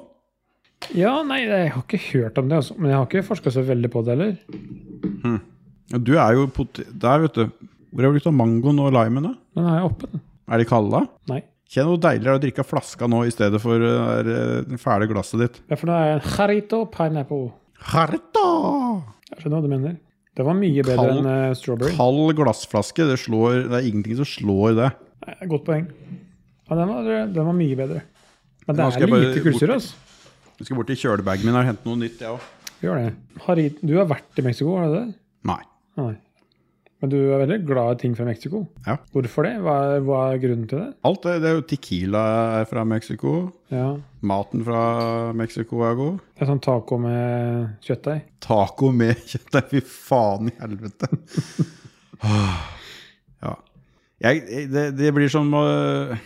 Speaker 1: Ja, nei, jeg har ikke hørt om det, altså. Men jeg har ikke forska så veldig på det heller.
Speaker 2: Ja, du er jo pot der, vet du. Hvor har du blitt av mangoen og limen? da?
Speaker 1: Den er oppe, den.
Speaker 2: Er de kalde?
Speaker 1: Nei.
Speaker 2: Kjenn hvor deilig det er å drikke av flaska nå i stedet for eh, det der, eh, fæle glasset ditt.
Speaker 1: Ja, for det er en jarito pineapple.
Speaker 2: Harta!
Speaker 1: Jeg skjønner hva du mener. Det var mye bedre
Speaker 2: Kald-
Speaker 1: enn eh, strawberry.
Speaker 2: Kald glassflaske, det, slår, det er ingenting som slår det.
Speaker 1: Nei, Godt poeng. Ja, den var, den var mye bedre. Men det
Speaker 2: Nå skal
Speaker 1: er
Speaker 2: jeg bare
Speaker 1: lite kullsyre, altså.
Speaker 2: Jeg skal bort til kjølebagen min og hente noe nytt, jeg òg.
Speaker 1: Gjør det. Jarito, du har vært i Mexico, har du det?
Speaker 2: Nei.
Speaker 1: Nei. Men du er veldig glad i ting fra Mexico.
Speaker 2: Ja.
Speaker 1: Hvorfor det? Hva er, hva er grunnen til det?
Speaker 2: Alt det, det er jo tequila er fra Mexico.
Speaker 1: Ja,
Speaker 2: Maten fra Mexico er god.
Speaker 1: Det er sånn taco med kjøttdeig.
Speaker 2: Taco med kjøttdeig. Fy faen i helvete. Ah, ja. Jeg, jeg- det, det blir som øh,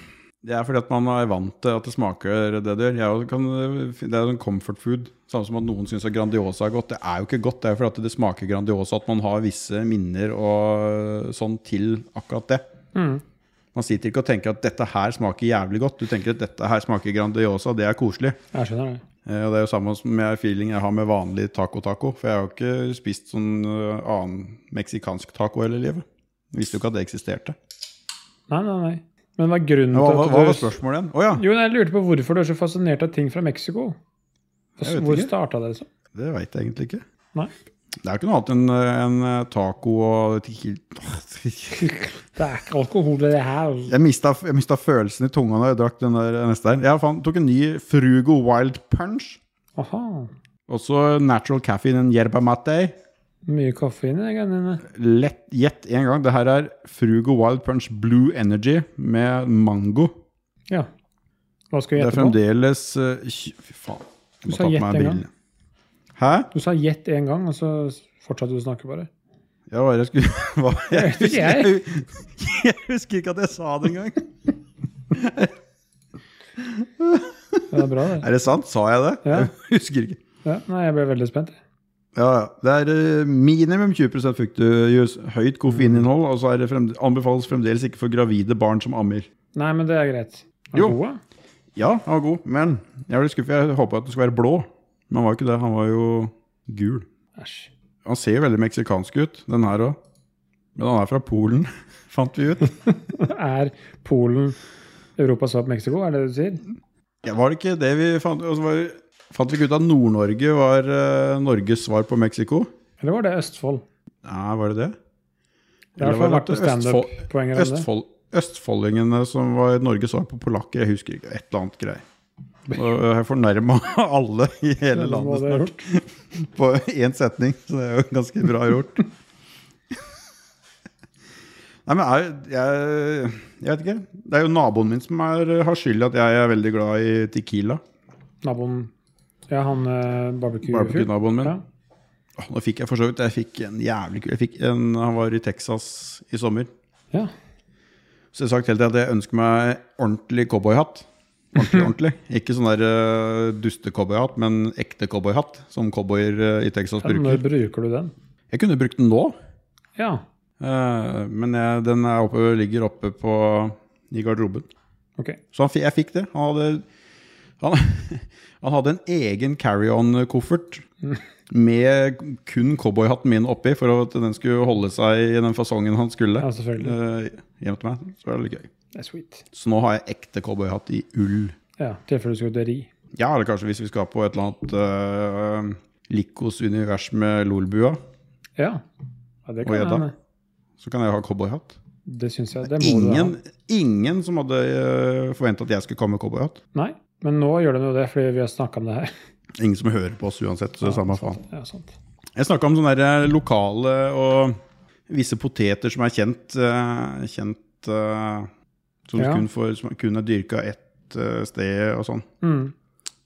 Speaker 2: Det er fordi at man er vant til at det smaker det det gjør. Jeg også kan, det er sånn comfort food. Samme som at noen syns Grandiosa er godt. Det er jo ikke godt. Det er jo fordi at det smaker Grandiosa at man har visse minner og sånn til akkurat det.
Speaker 1: Mm.
Speaker 2: Man sitter ikke og tenker at dette her smaker jævlig godt. Du tenker at dette her smaker Grandiosa, det er koselig.
Speaker 1: Jeg skjønner det.
Speaker 2: Eh, Og Det er jo samme som med feeling jeg har med vanlig taco-taco. For jeg har jo ikke spist sånn eh, annen meksikansk taco hele livet. Jeg visste jo ikke at det eksisterte.
Speaker 1: Nei, nei, nei. Men hva er grunnen
Speaker 2: Men hva, hva,
Speaker 1: til
Speaker 2: hva var
Speaker 1: at du
Speaker 2: spørsmålet igjen? Å ja,
Speaker 1: Jo, nei, jeg lurte på hvorfor du er så fascinert av ting fra Mexico.
Speaker 2: Jeg vet
Speaker 1: Hvor
Speaker 2: ikke.
Speaker 1: starta det? liksom?
Speaker 2: det veit jeg egentlig ikke.
Speaker 1: Nei.
Speaker 2: Det er jo ikke noe annet enn eh, en eh, taco og tequila
Speaker 1: Det er ikke alkohol i det her.
Speaker 2: Jeg mista, jeg mista følelsen i tunga da jeg drakk den der neste her. Jeg fant, tok en ny Frugo Wild Punch.
Speaker 1: Aha.
Speaker 2: Og så Natural Caffeine en yerba mate.
Speaker 1: Mye koffein i de greiene dine.
Speaker 2: Lett gjett én gang. Det her er Frugo Wild Punch Blue Energy med mango.
Speaker 1: Ja. Hva skal vi
Speaker 2: Det er
Speaker 1: gjette på?
Speaker 2: fremdeles eh, tj- Fy faen. Jeg
Speaker 1: Du
Speaker 2: må
Speaker 1: sa
Speaker 2: ta på
Speaker 1: gjett en
Speaker 2: meg
Speaker 1: gang.
Speaker 2: brillene. Hæ?
Speaker 1: Du sa gjett én gang, og så fortsatte du å snakke bare.
Speaker 2: Ja, hva er det jeg skulle hva, jeg,
Speaker 1: vet ikke,
Speaker 2: husker, jeg, husker ikke at jeg sa det engang.
Speaker 1: Det er bra, det.
Speaker 2: Er det sant? Sa jeg det?
Speaker 1: Ja.
Speaker 2: Jeg husker ikke.
Speaker 1: Ja, nei, jeg ble veldig spent. jeg.
Speaker 2: Ja, ja. Det er eh, minimum 20 fruktjus, høyt koffeininnhold, og så er det fremd- anbefales fremdeles ikke for gravide barn som ammer.
Speaker 1: Nei, men det er greit. Er
Speaker 2: Jo.
Speaker 1: Gode?
Speaker 2: Ja, han var god, men jeg ble skuffet. Jeg håpa at det skulle være blå, men han var jo ikke det. Han var jo gul.
Speaker 1: Æsj.
Speaker 2: Han ser jo veldig meksikansk ut, den her òg. Men han er fra Polen, fant vi ut.
Speaker 1: Er Polen Europas svar på Mexico, er det det du sier?
Speaker 2: Ja, var det ikke det vi fant Og så var, fant vi ikke ut at Nord-Norge var eh, Norges svar på Mexico?
Speaker 1: Eller var det Østfold?
Speaker 2: Nei, var det det?
Speaker 1: Det har i hvert fall
Speaker 2: Eller var
Speaker 1: vært
Speaker 2: det
Speaker 1: noen standup-poenger om det.
Speaker 2: Østfold, Østfoldingene som var Norges svar på polakker, jeg husker ikke. Et eller annet greier. Og eh, jeg fornærma alle i hele
Speaker 1: Det må
Speaker 2: landet
Speaker 1: det ha
Speaker 2: snart
Speaker 1: gjort.
Speaker 2: på én setning, så det er jo ganske bra gjort. Nei, men er, jeg, jeg vet ikke. Det er jo naboen min som er, har skyld i at jeg er veldig glad i Tequila.
Speaker 1: Naboen Ja, han eh, barbecue-fyren.
Speaker 2: Barbecue-naboen min.
Speaker 1: Ja.
Speaker 2: Åh, Nå fikk jeg for så vidt Jeg fikk en jævlig kul jeg fikk en, Han var i Texas i sommer.
Speaker 1: ja.
Speaker 2: Så jeg har sagt hele tiden at jeg ønsker meg ordentlig cowboyhatt. Ordentlig, ordentlig. Ikke sånn der uh, duste-cowboyhatt, men ekte cowboyhatt. Som cowboyer eh, i Texas
Speaker 1: Ja, Når
Speaker 2: bruker.
Speaker 1: bruker du den?
Speaker 2: Jeg kunne brukt den nå,
Speaker 1: Ja.
Speaker 2: eh, men jeg, den er oppe, ligger oppe på, i garderoben.
Speaker 1: Ok.
Speaker 2: Så han, fi- jeg fikk det. Han hadde, han, han hadde en egen carry-on-koffert med kun cowboyhatten min oppi, for at den skulle holde seg i den fasongen han skulle.
Speaker 1: Ja, selvfølgelig.
Speaker 2: Eh, hjem til meg. Så er det litt gøy.
Speaker 1: Det er sweet.
Speaker 2: Så nå har jeg ekte cowboyhatt i ull.
Speaker 1: Ja, tilfelle du skulle til ri.
Speaker 2: Ja, eller kanskje hvis vi skal på et eller annet eh, Likos univers med Lolbua,
Speaker 1: Ja. ja det
Speaker 2: Og
Speaker 1: kan
Speaker 2: gjedda.
Speaker 1: hende.
Speaker 2: så kan jeg ha cowboyhatt.
Speaker 1: Det syns jeg. Det må
Speaker 2: Ingen,
Speaker 1: du ha.
Speaker 2: ingen som hadde uh, forventa at jeg skulle komme med cowboyhatt.
Speaker 1: Nei, men nå gjør den jo det, fordi vi har snakka om det her.
Speaker 2: Ingen som hører på oss uansett, så det er samme faen.
Speaker 1: Ja, sant.
Speaker 2: Jeg snakka om sånne der eh, lokale og visse poteter som er kjent, eh, kjent eh, Som
Speaker 1: Ja.
Speaker 2: kun, får- som kun er dyrka ett eh, sted og sånn.
Speaker 1: Mm.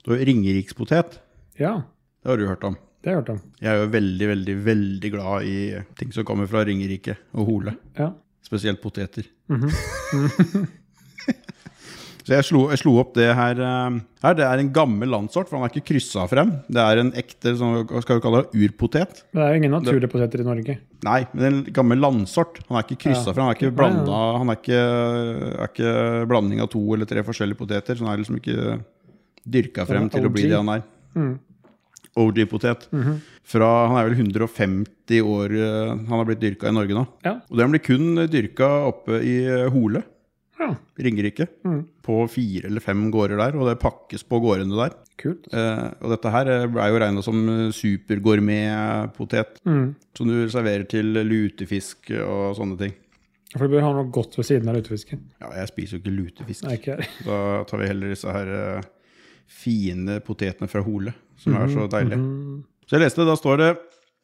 Speaker 2: Så Ringerikspotet,
Speaker 1: Ja,
Speaker 2: det har du hørt om.
Speaker 1: det har jeg hørt om.
Speaker 2: Jeg er jo veldig, veldig, veldig glad i ting som kommer fra Ringerike og Hole.
Speaker 1: Ja.
Speaker 2: Spesielt poteter.
Speaker 1: Mhm.
Speaker 2: Så jeg slo, jeg slo opp det her, eh, her. Det er en gammel landsort, for han er ikke kryssa frem. Det er en ekte sånn, hva skal vi kalle det, urpotet.
Speaker 1: Men det er jo ingen naturlige poteter i Norge.
Speaker 2: Nei, men det er en gammel landsort. Han er ikke kryssa
Speaker 1: Ja.
Speaker 2: fra. Han er ikke blanda Han er ikke, er ikke blanding av to eller tre forskjellige poteter. Så han er liksom ikke dyrka
Speaker 1: er
Speaker 2: frem til å bli
Speaker 1: OG.
Speaker 2: det han er.
Speaker 1: Mm.
Speaker 2: OG-potet.
Speaker 1: Mhm.
Speaker 2: Fra Han er vel 150 år eh, han har blitt dyrka i Norge nå.
Speaker 1: Ja.
Speaker 2: Og den blir kun dyrka oppe i eh, Hole,
Speaker 1: ja.
Speaker 2: Ringerike.
Speaker 1: Mhm.
Speaker 2: På fire eller fem gårder der, og det pakkes på gårdene der.
Speaker 1: Kult.
Speaker 2: Eh, og dette her eh, er jo regna som eh, supergourmetpotet.
Speaker 1: Mm.
Speaker 2: Som du serverer til lutefisk og sånne ting.
Speaker 1: For du bør ha noe godt ved siden av lutefisken.
Speaker 2: Ja, jeg spiser jo ikke lutefisk.
Speaker 1: Nei, ikke jeg.
Speaker 2: Da tar vi heller disse her eh, fine potetene fra Hole, som er så deilige.
Speaker 1: Mm.
Speaker 2: Så jeg leste, da står det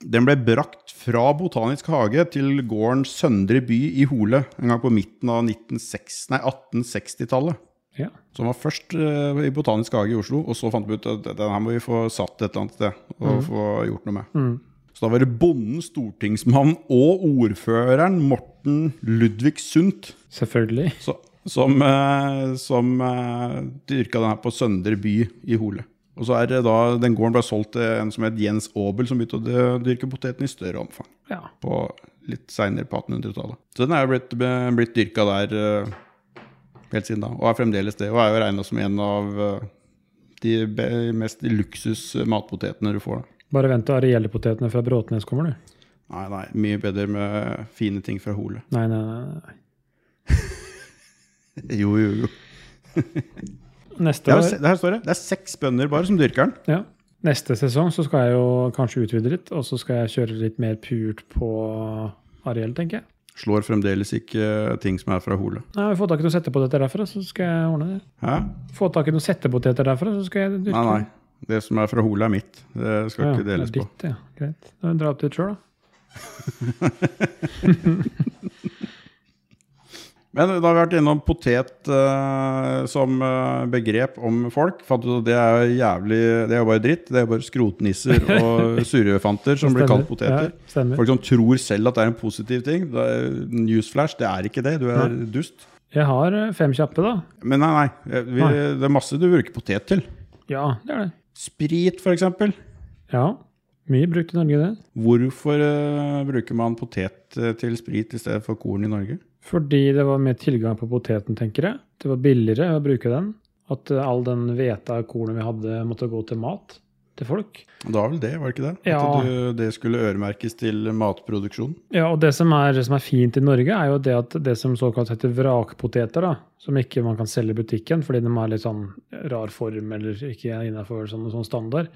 Speaker 2: den ble brakt fra Botanisk hage til gården Søndre by i Hole en gang på midten av 1960 nei, 1860-tallet.
Speaker 1: Ja.
Speaker 2: Som var først eh, i Botanisk hage i Oslo, og så fant vi ut at den her må vi få satt et eller annet sted og få gjort noe med.
Speaker 1: Mm.
Speaker 2: Så da var det bonden, stortingsmannen og ordføreren Morten Ludvig Sundt
Speaker 1: Selvfølgelig.
Speaker 2: så, som, eh, som eh, dyrka den her på Søndre by i Hole. Og så er det da, Den gården ble solgt til en som het Jens Aabel, som begynte å dy- dyrke poteten i større omfang.
Speaker 1: Ja.
Speaker 2: på Litt seinere, på 1800-tallet. Så den er jo blitt, blitt dyrka der eh, helt siden da. Og er fremdeles det. Og er jo regna som en av eh, de be- mest luksus matpotetene du får. da.
Speaker 1: Bare vent til ariellepotetene fra Bråtnes kommer, du.
Speaker 2: Nei, nei, mye bedre med fine ting fra Hole.
Speaker 1: Nei, nei, nei. nei.
Speaker 2: Jo, jo, jo.
Speaker 1: Neste
Speaker 2: Det
Speaker 1: år
Speaker 2: er, det her står det. Det er seks bønder bare som dyrker den.
Speaker 1: Ja. Neste sesong så skal jeg jo kanskje utvide litt, og så skal jeg kjøre litt mer purt på Ariel, tenker jeg.
Speaker 2: Slår fremdeles ikke eh, ting som er fra Hole.
Speaker 1: Nei, vi får tak i noen settepoteter derfra, så skal jeg ordne det.
Speaker 2: Hæ?
Speaker 1: Få tak i noen settepoteter derfra, så skal jeg dyrke
Speaker 2: Nei, nei. Det som er fra Hole, er mitt. Det skal
Speaker 1: Ja,
Speaker 2: ikke
Speaker 1: det er
Speaker 2: deles på.
Speaker 1: ditt, ja. Greit. Da drar jeg opp dit sjøl, da.
Speaker 2: Men da har vi vært innom potet eh, som eh, begrep om folk. Fant ut at det er jo jævlig Det er jo bare dritt. Det er jo bare skrotnisser og surrefanter som blir kalt
Speaker 1: Stemmer.
Speaker 2: poteter.
Speaker 1: Ja, stemmer.
Speaker 2: Folk som tror selv at det er en positiv ting. Det er newsflash, det er ikke det. Du er dust.
Speaker 1: Jeg har eh, fem kjappe, da.
Speaker 2: Men nei, nei. Eh, Vi,
Speaker 1: Nei.
Speaker 2: det er masse du bruker potet til.
Speaker 1: Ja, det er det.
Speaker 2: Sprit, for eksempel.
Speaker 1: Ja. Mye brukt i Norge, det.
Speaker 2: Hvorfor eh, bruker man potet eh, til sprit i stedet for korn i Norge?
Speaker 1: Fordi det var mer tilgang på poteten, tenker jeg. Det var billigere å bruke den. At eh, all den hveta og kornet vi hadde, måtte gå til mat til folk.
Speaker 2: Det var vel det, var det ikke det?
Speaker 1: Ja.
Speaker 2: At du, det skulle øremerkes til matproduksjon.
Speaker 1: Ja, og det som er, som er fint i Norge, er jo det at det som såkalt heter vrakpoteter, da, som ikke man kan selge i butikken fordi de har litt sånn rar form eller ikke er innafor sånn, sånn standard,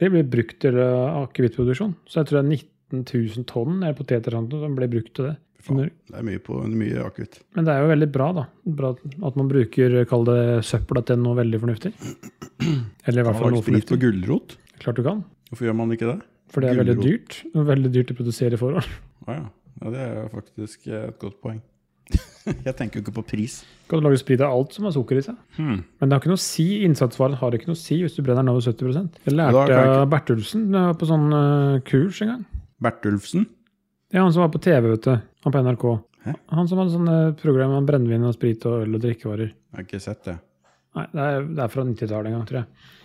Speaker 1: det blir brukt til eh, akevittproduksjon. Så jeg tror det er 19 000 tonn er poteter sånn, som blir brukt til det.
Speaker 2: Faen. Det er mye, på- mye akutt.
Speaker 1: Men det er jo veldig bra, da. Bra at man bruker, kall det søpla til noe veldig fornuftig. Eller i hvert fall
Speaker 2: Har
Speaker 1: noe
Speaker 2: du spist på
Speaker 1: fornuftig.
Speaker 2: gulrot?
Speaker 1: Klart du kan.
Speaker 2: Hvorfor gjør man ikke det?
Speaker 1: For det er veldig
Speaker 2: Gulrot.
Speaker 1: dyrt. Veldig dyrt å produsere i forhold.
Speaker 2: Å ja. ja. Det er faktisk eh, et godt poeng. jeg tenker jo ikke på pris.
Speaker 1: Kan du lage sprit av alt som har sukker i seg?
Speaker 2: Hmm.
Speaker 1: Men det har ikke noe å si, innsatsvaren har ikke noe å si hvis du brenner den over 70 Det
Speaker 2: Da
Speaker 1: lærte
Speaker 2: kan jeg
Speaker 1: jeg av Bertulsen da jeg var på sånn eh, kurs en gang.
Speaker 2: Bertulfsen?
Speaker 1: Ja, Han som var på TV, vet du. Han på NRK.
Speaker 2: Hæ?
Speaker 1: Han som hadde sånne program om brennevin og sprit og øl og drikkevarer.
Speaker 2: Jeg har ikke sett det.
Speaker 1: Nei, det er, det er fra 90-tallet en gang, tror jeg.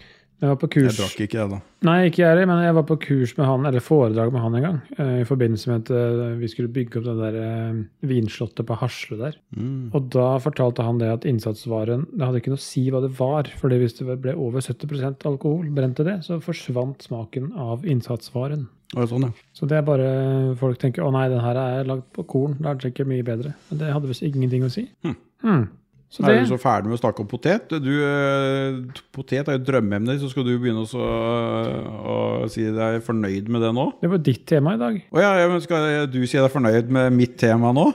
Speaker 1: Jeg var på
Speaker 2: Jeg
Speaker 1: kurs
Speaker 2: drakk ikke det, da.
Speaker 1: Nei, ikke jeg heller, men jeg var på kurs med han, eller foredrag med han en gang. eh, I forbindelse med at eh, vi skulle bygge opp det der eh, vinslottet på Hasle der.
Speaker 2: Mm.
Speaker 1: Og da fortalte han det at innsatsvaren Det hadde ikke noe å si hva det var, fordi hvis det ble over 70 alkohol, brent til det, så forsvant smaken av innsatsvaren.
Speaker 2: Å, sånn, ja.
Speaker 1: Så det er bare eh, folk tenker å nei, den her er lagd på korn, da er den sikkert mye bedre. Men det hadde visst ingenting å si.
Speaker 2: Hm.
Speaker 1: Hmm. Så
Speaker 2: Er du
Speaker 1: det
Speaker 2: så ferdig med å snakke om potet? Du, eh, t- potet er jo et drømmeemne, så skal du begynne også, eh, å si deg fornøyd med det nå?
Speaker 1: det var ditt tema i dag.
Speaker 2: Å ja, ja, men skal du si deg fornøyd med mitt tema nå?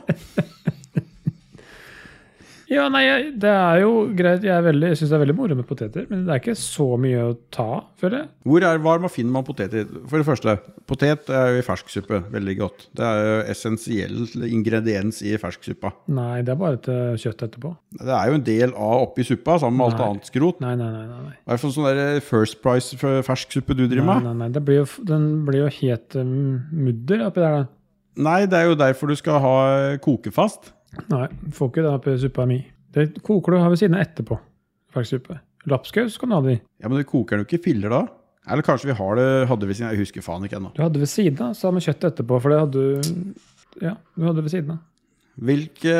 Speaker 1: Ja, nei, jeg- det er jo greit. Jeg, er veldig- jeg syns det er veldig moro med poteter, men det er ikke så mye å ta, av, føler jeg.
Speaker 2: Hvor er varm og finner man poteter? For det første, potet er jo i fersksuppe. Veldig godt. Det er jo essensiell ingrediens i ferskssuppa.
Speaker 1: Nei, det er bare til kjøtt etterpå.
Speaker 2: Det er jo en del av oppi suppa, sammen med alt
Speaker 1: Nei.
Speaker 2: annet skrot.
Speaker 1: Nei, nei, nei. nei, nei.
Speaker 2: Hva er det for sånn der First Price for fersksuppe du driver
Speaker 1: nei,
Speaker 2: med?
Speaker 1: nei, nei. Det blir jo, f- den blir jo het um, mudder oppi der, da.
Speaker 2: Nei, det er jo derfor du skal ha eh, kokefast.
Speaker 1: Nei, får ikke det oppi suppa mi. Det koker du har ved siden av etterpå. Fersksuppe. Lapskaus kan du ha det i.
Speaker 2: Ja, Men du koker den jo ikke i filler da? Eller kanskje vi har det, hadde vi siden Jeg husker faen ikke ennå.
Speaker 1: Du hadde ved siden av, sa med kjøttet etterpå, for det hadde du Ja, du hadde ved siden av.
Speaker 2: Hvilke,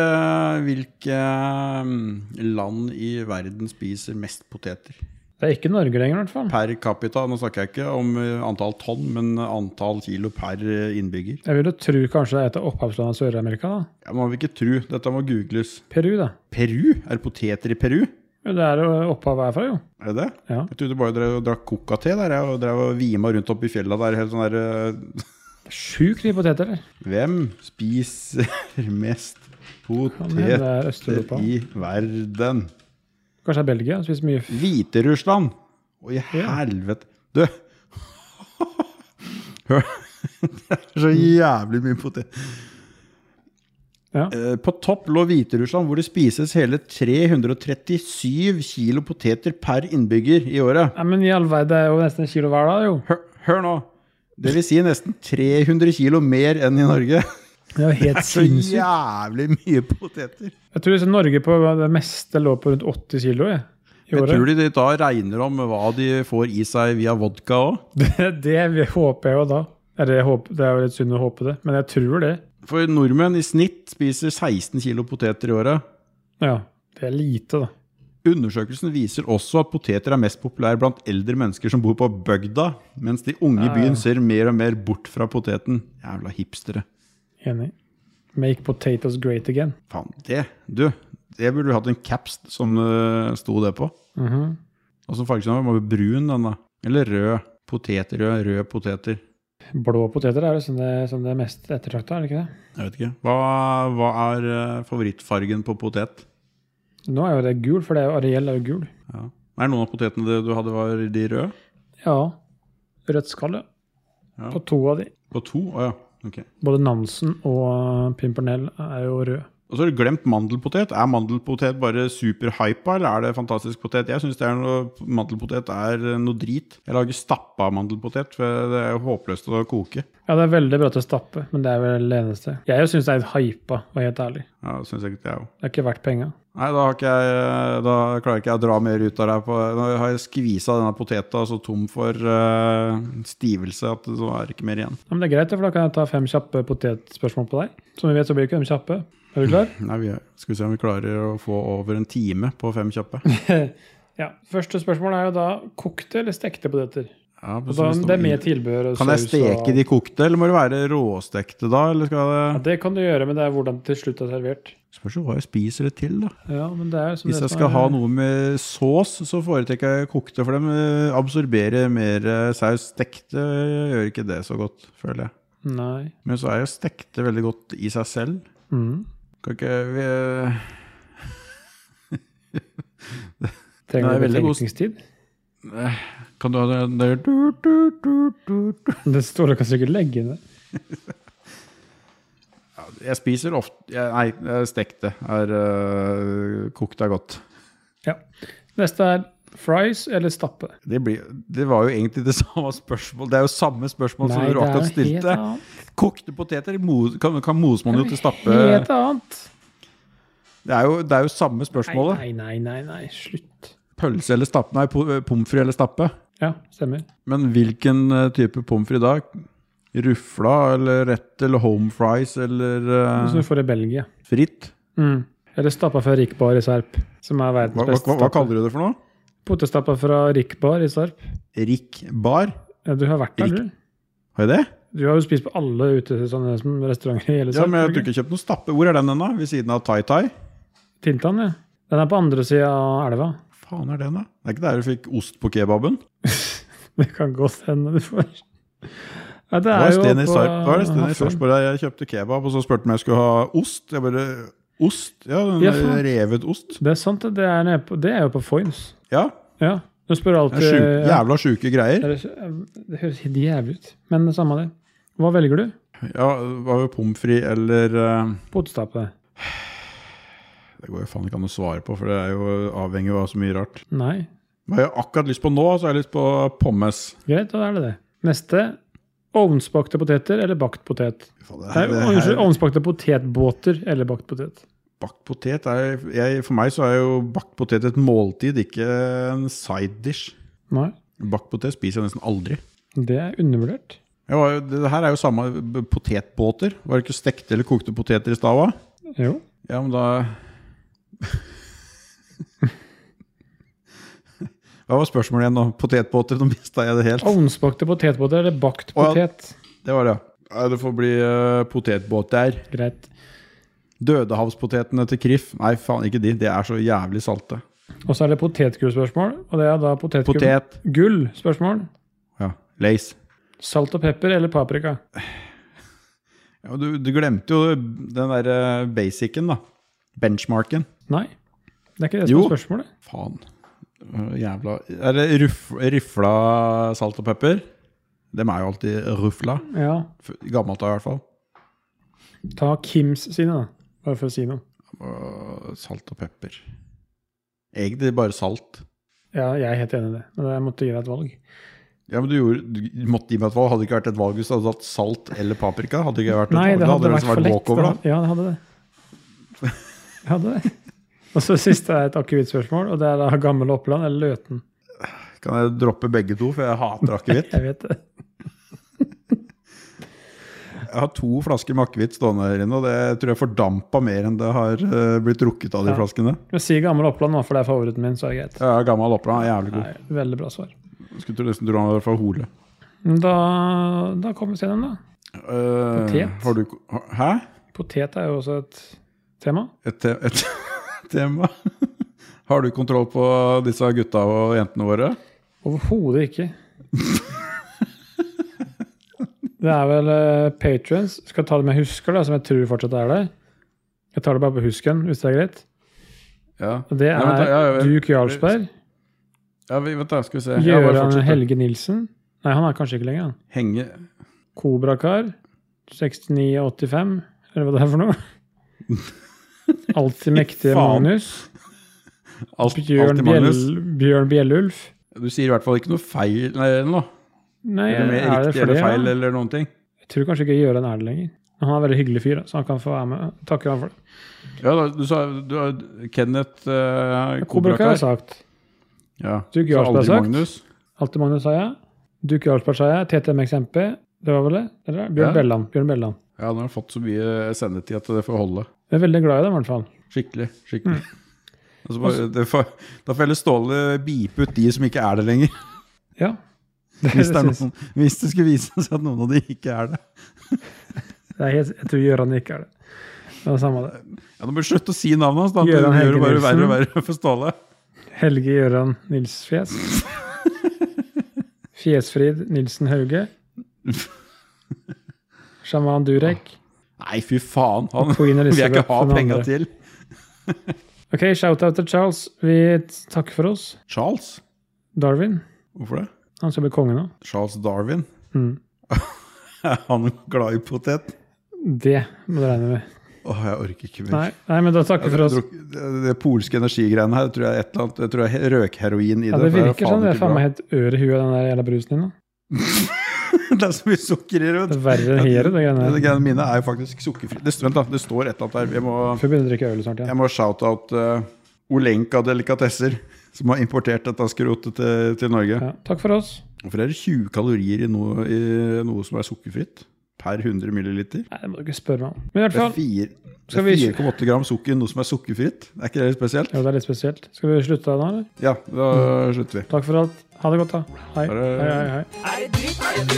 Speaker 2: hvilke mm, land i verden spiser mest poteter?
Speaker 1: Det er ikke Norge lenger, i hvert fall.
Speaker 2: Per capita, nå snakker jeg ikke om eh, antall tonn, men antall kilo per eh, innbygger.
Speaker 1: Jeg vil jo tro kanskje det er et av opphavslandene i Sør-Amerika, da.
Speaker 2: Ja, man vil ikke tru, dette må googles.
Speaker 1: Peru, da.
Speaker 2: Peru? Er det poteter i Peru?
Speaker 1: Jo, det er jo opphavet herfra, jo.
Speaker 2: Er det det?
Speaker 1: Ja.
Speaker 2: Jeg trodde bare dere drakk coca-te der jeg, og drev og vima rundt oppe i fjella der. Helt sånn der
Speaker 1: Det
Speaker 2: eh,
Speaker 1: er Sjukt mye poteter der.
Speaker 2: Hvem spiser mest
Speaker 1: Kan hende
Speaker 2: poteter
Speaker 1: det er Øst-Europa.
Speaker 2: i verden?
Speaker 1: Kanskje det er Belgia. Spiser mye f-
Speaker 2: Hviterussland! Å, i helvete. Du! Hør, det er så jævlig mye potet.
Speaker 1: Ja.
Speaker 2: Eh, På topp lå Hviterussland, hvor det spises hele 337 kilo poteter per innbygger i året.
Speaker 1: Nei, men i all verden, det er jo nesten en kilo hver dag, jo.
Speaker 2: Hør, hør nå! Det vil si nesten 300 kilo mer enn i Norge.
Speaker 1: Det er jo helt
Speaker 2: Så
Speaker 1: sinnssykt.
Speaker 2: jævlig mye poteter.
Speaker 1: Jeg tror liksom Norge på det meste lå på rundt 80 kilo jeg, i
Speaker 2: Jeg
Speaker 1: året.
Speaker 2: tror de da regner om hva de får i seg via vodka òg.
Speaker 1: Det, det vi- håper jeg jo da. Eller jeg håper, det er jo litt synd å håpe det, men jeg tror det.
Speaker 2: For nordmenn i snitt spiser 16 kilo poteter i året.
Speaker 1: Ja, Det er lite, da.
Speaker 2: Undersøkelsen viser også at poteter er mest populær blant eldre mennesker som bor på bygda, mens de unge i
Speaker 1: Ja, ja.
Speaker 2: byen ser mer og mer bort fra poteten. Jævla hipstere.
Speaker 1: Enig. Make potatoes great again.
Speaker 2: Faen, det Du, det burde du hatt en caps som uh, sto det på.
Speaker 1: Mhm.
Speaker 2: Og så farge den var brun, den da. Eller rød. Potetrød, rød poteter.
Speaker 1: Blå poteter er jo som det, som det mest ettertrakta, er det ikke det?
Speaker 2: Jeg vet ikke. Hva, hva er eh, favorittfargen på potet?
Speaker 1: Nå er jo det gul, for det er jo Ariel er jo gul.
Speaker 2: Ja. Er det noen av potetene det du hadde, var de røde?
Speaker 1: Ja. Rødt skall, ja.
Speaker 2: Ja.
Speaker 1: På to av de.
Speaker 2: På to? Å ja. Ok.
Speaker 1: Både Nansen og Pimpernell er jo rød.
Speaker 2: Og så har du glemt mandelpotet. Er mandelpotet bare superhypa, eller er det fantastisk potet? Jeg syns mandelpotet er noe drit. Jeg lager stappa mandelpotet, for det er jo håpløst å koke.
Speaker 1: Ja, det er veldig bra til å stappe, men det er vel det eneste. Jeg syns det er litt hypa, for å være helt ærlig.
Speaker 2: Ja, det synes jeg ikke det er jo.
Speaker 1: Det er ikke verdt penga.
Speaker 2: Nei, da, har ikke jeg, eh, da klarer ikke jeg å dra mer ut av det. her På, nå har jeg skvisa denne poteta så tom for eh, stivelse at så er det ikke mer igjen.
Speaker 1: Ja, men det er greit, for da kan jeg ta fem kjappe potetspørsmål på deg. Som vi vet, så blir det ikke de kjappe. Er du klar?
Speaker 2: Nei, vi er, skal vi se om vi klarer å få over en time på fem kjappe.
Speaker 1: Ja. Første spørsmål er jo da kokte eller stekte poteter?
Speaker 2: Ja,
Speaker 1: Og da, det er med tilbehør. og
Speaker 2: Kan jeg
Speaker 1: saus og-
Speaker 2: steke de kokte, eller må det være råstekte da? Eller skal
Speaker 1: Ja,
Speaker 2: det
Speaker 1: det kan du gjøre, men det er hvordan det til slutt er servert.
Speaker 2: Spørs jo hva jeg spiser det til, da.
Speaker 1: Ja, men det er som
Speaker 2: Hvis
Speaker 1: det
Speaker 2: jeg
Speaker 1: som
Speaker 2: skal
Speaker 1: er-
Speaker 2: ha noe med sås, så foretrekker jeg kokte, for de eh, absorberer mer eh, saus. Stekte gjør ikke det så godt, føler jeg.
Speaker 1: Nei.
Speaker 2: Men så er jo stekte veldig godt i seg selv.
Speaker 1: Mhm.
Speaker 2: Kan ikke vi eh,
Speaker 1: Trenger
Speaker 2: Nei,
Speaker 1: du
Speaker 2: veldig god-
Speaker 1: betenkningstid?
Speaker 2: Kan du ha den der du, du, du, du, du.
Speaker 1: Det Ståle kan sikkert legge inn det.
Speaker 2: Jeg spiser ofte jeg, Nei, eh, stekte er eh, Kokt er godt.
Speaker 1: Ja. Neste er fries eller stappe.
Speaker 2: Det, blir, det var jo egentlig det samme spørsmål. Det er jo samme spørsmål som du akkurat stilte.
Speaker 1: annet.
Speaker 2: Kokte poteter mos, kan, kan mose man jo til stappe.
Speaker 1: Helt annet.
Speaker 2: Det er jo, det er jo samme spørsmålet.
Speaker 1: Nei, nei, nei, nei, slutt.
Speaker 2: Pølse eller stappe? Nei, po- eh, pommes frites eller stappe.
Speaker 1: Ja, stemmer.
Speaker 2: Men hvilken eh, type pommes frites da? Rufla eller rett eller home fries eller eh,
Speaker 1: Som du får i Belgia.
Speaker 2: fritt?
Speaker 1: Mm. Eller stappa fra Rick Bar i Sarp, som er
Speaker 2: Hva,
Speaker 1: verdens
Speaker 2: hva,
Speaker 1: beste
Speaker 2: hva, hva kaller du det for noe?
Speaker 1: Potestappa fra Rick Bar i Sarp.
Speaker 2: Rick bar?
Speaker 1: Ja, Du har vært der,
Speaker 2: Rick-
Speaker 1: du?
Speaker 2: Har jeg det?
Speaker 1: Du har jo spist på alle ute sånne som restauranter i hele
Speaker 2: Ja,
Speaker 1: Sarp.
Speaker 2: men jeg
Speaker 1: har
Speaker 2: har
Speaker 1: du
Speaker 2: ikke kjøpt noen stappe. Hvor er den den da? Ved siden av Tai Tai?
Speaker 1: ikke? Tintan, ja. Den er på andre sida av elva.
Speaker 2: Faen er den da? Det er ikke der du fikk ost på kebaben?
Speaker 1: Det kan godt hende du får ja, Det
Speaker 2: Det
Speaker 1: er
Speaker 2: var
Speaker 1: jo
Speaker 2: Sten i
Speaker 1: på-
Speaker 2: Sarp- var det Sten i
Speaker 1: Hafjell.
Speaker 2: Sarpsborg der jeg kjøpte kebab, og så spurte han om jeg skulle ha ost. Jeg bare Ost? Ja, den
Speaker 1: Ja, faen.
Speaker 2: revet ost.
Speaker 1: Det er sant, det er, nede på, det er jo på Foynes.
Speaker 2: Ja.
Speaker 1: Ja. Du spør
Speaker 2: det
Speaker 1: alltid
Speaker 2: er Sjuk,
Speaker 1: ja.
Speaker 2: jævla sjuke greier.
Speaker 1: Det er- det høres helt jævlig ut, men det samme det. Hva velger du?
Speaker 2: Ja, Var jo pommes frites eller eh,
Speaker 1: Potestappe?
Speaker 2: Det går jo faen ikke an å svare på, for det er jo avhengig av så mye rart.
Speaker 1: Nei.
Speaker 2: Hva jeg akkurat lyst på nå, så har jeg lyst på pommes.
Speaker 1: Greit, da er det det. Neste. Ovnsbakte poteter eller bakt potet?
Speaker 2: Faen,
Speaker 1: Nei,
Speaker 2: det her-
Speaker 1: unnskyld, ovnsbakte potetbåter eller bakt potet?
Speaker 2: Bakt potet er jeg, For meg så er jo bakt potet et måltid, ikke en side dish.
Speaker 1: Nei,
Speaker 2: Bakt potet spiser jeg nesten aldri.
Speaker 1: det er undervurdert.
Speaker 2: Jeg var, jo- det her er jo samme b- potetbåter. Var det ikke stekte eller kokte poteter i stava?
Speaker 1: Jo.
Speaker 2: Ja, men da Hva var spørsmålet igjen nå? Potetbåter? Nå mista jeg det helt.
Speaker 1: Ovnsbakte potetbåter eller bakt
Speaker 2: Å, ja.
Speaker 1: potet?
Speaker 2: Det var det, ja. Nei, Det får bli uh, potetbåter.
Speaker 1: Greit.
Speaker 2: Dødehavspotetene til Krif. Nei, faen, ikke de. De er så jævlig salte.
Speaker 1: Og så er det potetgullspørsmål. Og det er da potetgull.
Speaker 2: Potet.
Speaker 1: Gull? Spørsmål.
Speaker 2: Ja. Lace.
Speaker 1: Salt og pepper eller paprika?
Speaker 2: Ja, du, du glemte jo den der eh, basicen, da. Benchmarken.
Speaker 1: Nei. Det er ikke det som
Speaker 2: Jo.
Speaker 1: er spørsmålet.
Speaker 2: Faen. Øh, Jævla Er det ruff, rifla salt og pepper? Dem er jo alltid rufla.
Speaker 1: Ja.
Speaker 2: F- Gammelt av, i hvert fall.
Speaker 1: Ta Kims sine, da. Bare for å si noe.
Speaker 2: Øh, Salt og pepper. Egentlig bare salt.
Speaker 1: Ja, jeg er helt enig i det, men jeg måtte gi deg et valg.
Speaker 2: Ja, men Du, gjorde, du måtte gi meg et valg. Hadde det ikke vært et valg hvis du hadde hatt salt eller paprika? Hadde det ikke vært et
Speaker 1: Nei,
Speaker 2: valg,
Speaker 1: det
Speaker 2: da
Speaker 1: hadde vært
Speaker 2: liksom
Speaker 1: for lett.
Speaker 2: walkover, da.
Speaker 1: da. Ja, det hadde det. Jeg hadde det. Og så siste er et akevittspørsmål, og det er da Gammel Oppland eller Løten.
Speaker 2: Kan jeg droppe begge to, for jeg hater akevitt?
Speaker 1: Jeg vet det.
Speaker 2: Jeg har to flasker med akevitt stående her inne, og det tror jeg fordampa mer enn det har øh, blitt drukket av de
Speaker 1: Ja.
Speaker 2: flaskene.
Speaker 1: Men si Gammel Oppland, da, for det er favoritten min, så er det greit.
Speaker 2: Ja, gammel opera, jævlig god.
Speaker 1: Nei, veldig bra svar.
Speaker 2: Skulle tro nesten tro han var fra Hole.
Speaker 1: Men Da, da kommer vi til den, da.
Speaker 2: Eh,
Speaker 1: Potet.
Speaker 2: har du ko- ha- Hæ?
Speaker 1: Potet er jo også et tema.
Speaker 2: Et, te et tema? Har du kontroll på disse gutta og jentene våre?
Speaker 1: Overhodet ikke. Det er vel uh, patrons. Skal ta det med husker, da, som jeg tror fortsatt er der. Jeg tar det bare på husken, hvis det er greit.
Speaker 2: Ja.
Speaker 1: Og Det
Speaker 2: Nei, vent da,
Speaker 1: er
Speaker 2: ja, ja, vel.
Speaker 1: Duke Jarlsberg.
Speaker 2: ja vi, vent, da. Skal vi se. Ja, bare
Speaker 1: Gøran
Speaker 2: fortsett, da.
Speaker 1: Helge Nilsen. Nei, han er kanskje ikke lenger, han.
Speaker 2: Henge
Speaker 1: Kobrakar. 6985, eller hva det er for noe. Alltid mektige
Speaker 2: Faen.
Speaker 1: Magnus.
Speaker 2: alt,
Speaker 1: Bjørn,
Speaker 2: alt i Magnus.
Speaker 1: Bjell, Bjørn Bjellulf.
Speaker 2: Du sier i hvert fall ikke noe feil nei, eller noe.
Speaker 1: Nei,
Speaker 2: Eller mer
Speaker 1: er det
Speaker 2: riktig eller
Speaker 1: flere?
Speaker 2: feil
Speaker 1: da?
Speaker 2: eller noen ting.
Speaker 1: Jeg tror kanskje ikke Gjøran er det lenger. Men han er en veldig hyggelig fyr, da, så han kan få være med. Takker han for det.
Speaker 2: Ja, da, du sa du, har Kenneth uh,
Speaker 1: Kobrakar har
Speaker 2: Kobrakar.
Speaker 1: sagt.
Speaker 2: Ja.
Speaker 1: Duke
Speaker 2: Så
Speaker 1: Jarlsberg
Speaker 2: aldri
Speaker 1: sagt.
Speaker 2: Magnus.
Speaker 1: Alltid Magnus sa jeg. Duke Jarlsberg sa jeg. TTMX MP. Det var vel det? Eller? Bjørn
Speaker 2: Ja.
Speaker 1: Belland. Bjørn Belland.
Speaker 2: Ja, han har fått så mye sendetid at det får holde.
Speaker 1: Jeg er veldig glad i dem, i hvert fall.
Speaker 2: Skikkelig. skikkelig.
Speaker 1: Mm.
Speaker 2: Altså bare, det får, da får heller Ståle bipe ut de som ikke er det lenger.
Speaker 1: Ja. Det,
Speaker 2: Hvis det, er
Speaker 1: synes-
Speaker 2: noen, hvis det skulle vise seg at noen av de ikke er det.
Speaker 1: det er helt, jeg tror Gøran ikke er det. Det er samme det.
Speaker 2: Ja, Da bør du slutte å si navnet hans. da. Det
Speaker 1: Gøran
Speaker 2: gjør det bare
Speaker 1: Helge
Speaker 2: verre og verre for Ståle.
Speaker 1: Helge Gøran Nilsfjes. Fjesfrid Nilsen Hauge. Sjaman Durek.
Speaker 2: Nei, fy faen! Han
Speaker 1: Queen
Speaker 2: vil jeg
Speaker 1: Elizabeth
Speaker 2: ikke ha
Speaker 1: for den
Speaker 2: penga
Speaker 1: andre.
Speaker 2: til.
Speaker 1: Ok, shout-out til Charles. Vi takker for oss.
Speaker 2: Charles?
Speaker 1: Darwin.
Speaker 2: Hvorfor det?
Speaker 1: Han skal bli konge nå.
Speaker 2: Charles Darwin?
Speaker 1: Mm.
Speaker 2: Er han glad i potet?
Speaker 1: Det må du regne med.
Speaker 2: Åh, jeg orker ikke mer.
Speaker 1: Nei, nei men da takker vi for
Speaker 2: Jeg
Speaker 1: oss.
Speaker 2: tror- Det, det polske energigreiene her, det tror jeg er et eller annet Jeg tror jeg røkheroin i
Speaker 1: Ja,
Speaker 2: det.
Speaker 1: det
Speaker 2: for er
Speaker 1: virker
Speaker 2: faen
Speaker 1: sånn. Det
Speaker 2: ikke
Speaker 1: er faen
Speaker 2: bra.
Speaker 1: meg helt ør i huet, den der jævla brusen din. nå.
Speaker 2: Det er så mye sukker i
Speaker 1: Det
Speaker 2: det.
Speaker 1: er verre enn hele det greiene
Speaker 2: Det
Speaker 1: der.
Speaker 2: greiene mine er jo faktisk sukkerfri. Det, vent, da. Det står et eller annet her. Jeg må,
Speaker 1: Får begynne å drikke øl snart
Speaker 2: jeg
Speaker 1: igjen.
Speaker 2: må shout-out eh, Olenka Delikatesser, som har importert dette skrotet til, til Norge.
Speaker 1: Ja. Takk for oss.
Speaker 2: Hvorfor er det 20 kalorier i noe, i noe som er sukkerfritt? Per 100 milliliter?
Speaker 1: Nei, det må du ikke spørre meg om. Men i hvert
Speaker 2: Det er
Speaker 1: fall
Speaker 2: fire- det
Speaker 1: Skal
Speaker 2: er
Speaker 1: vi-
Speaker 2: 4,8 gram sukker i noe som er sukkerfritt. Er ikke det litt spesielt?
Speaker 1: Jo, det er litt spesielt. Skal vi slutte nå, eller?
Speaker 2: Ja, da slutter vi.
Speaker 1: Takk for alt. Ha det godt, da. Hei.
Speaker 2: Ha
Speaker 1: Hei,
Speaker 2: det.
Speaker 1: hei, hei.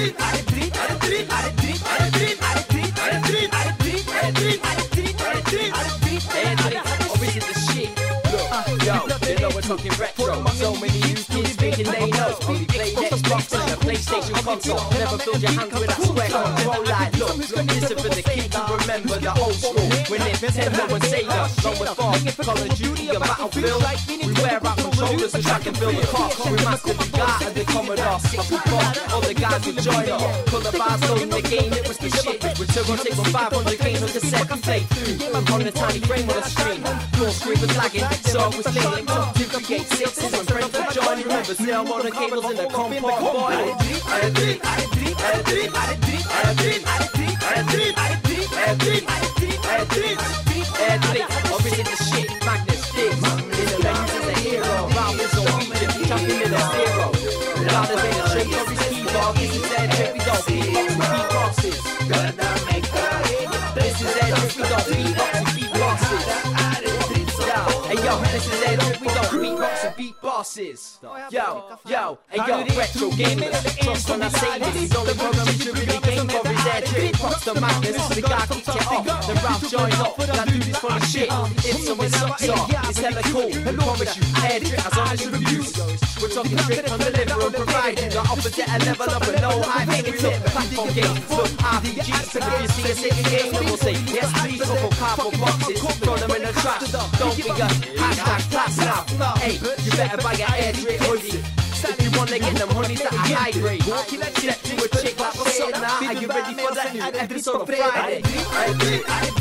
Speaker 4: Bosses. Yo, yo, hey yo, retro gamers. Trust when I say this. The only program you should really game for is that trick. Box the madness, the guy kicks it off. The rap join up. Now do this for the shit. It's someone sucks off. It's hella cool. I promise you, I had it as long as you refuse. We're talking trick on deliver and provide you. The opposite a level up and no high pay. We look platform games. Look, RPGs. So if you see us in the game, then we'll say, yes, please, couple cardboard boxes. Throw them in the trash. Don't be a hashtag class now. Hey, you better buy an air drip hoodie. If you wanna get them honeys that are high grade Step to a chick like what's up now Are you ready for that new episode of Friday?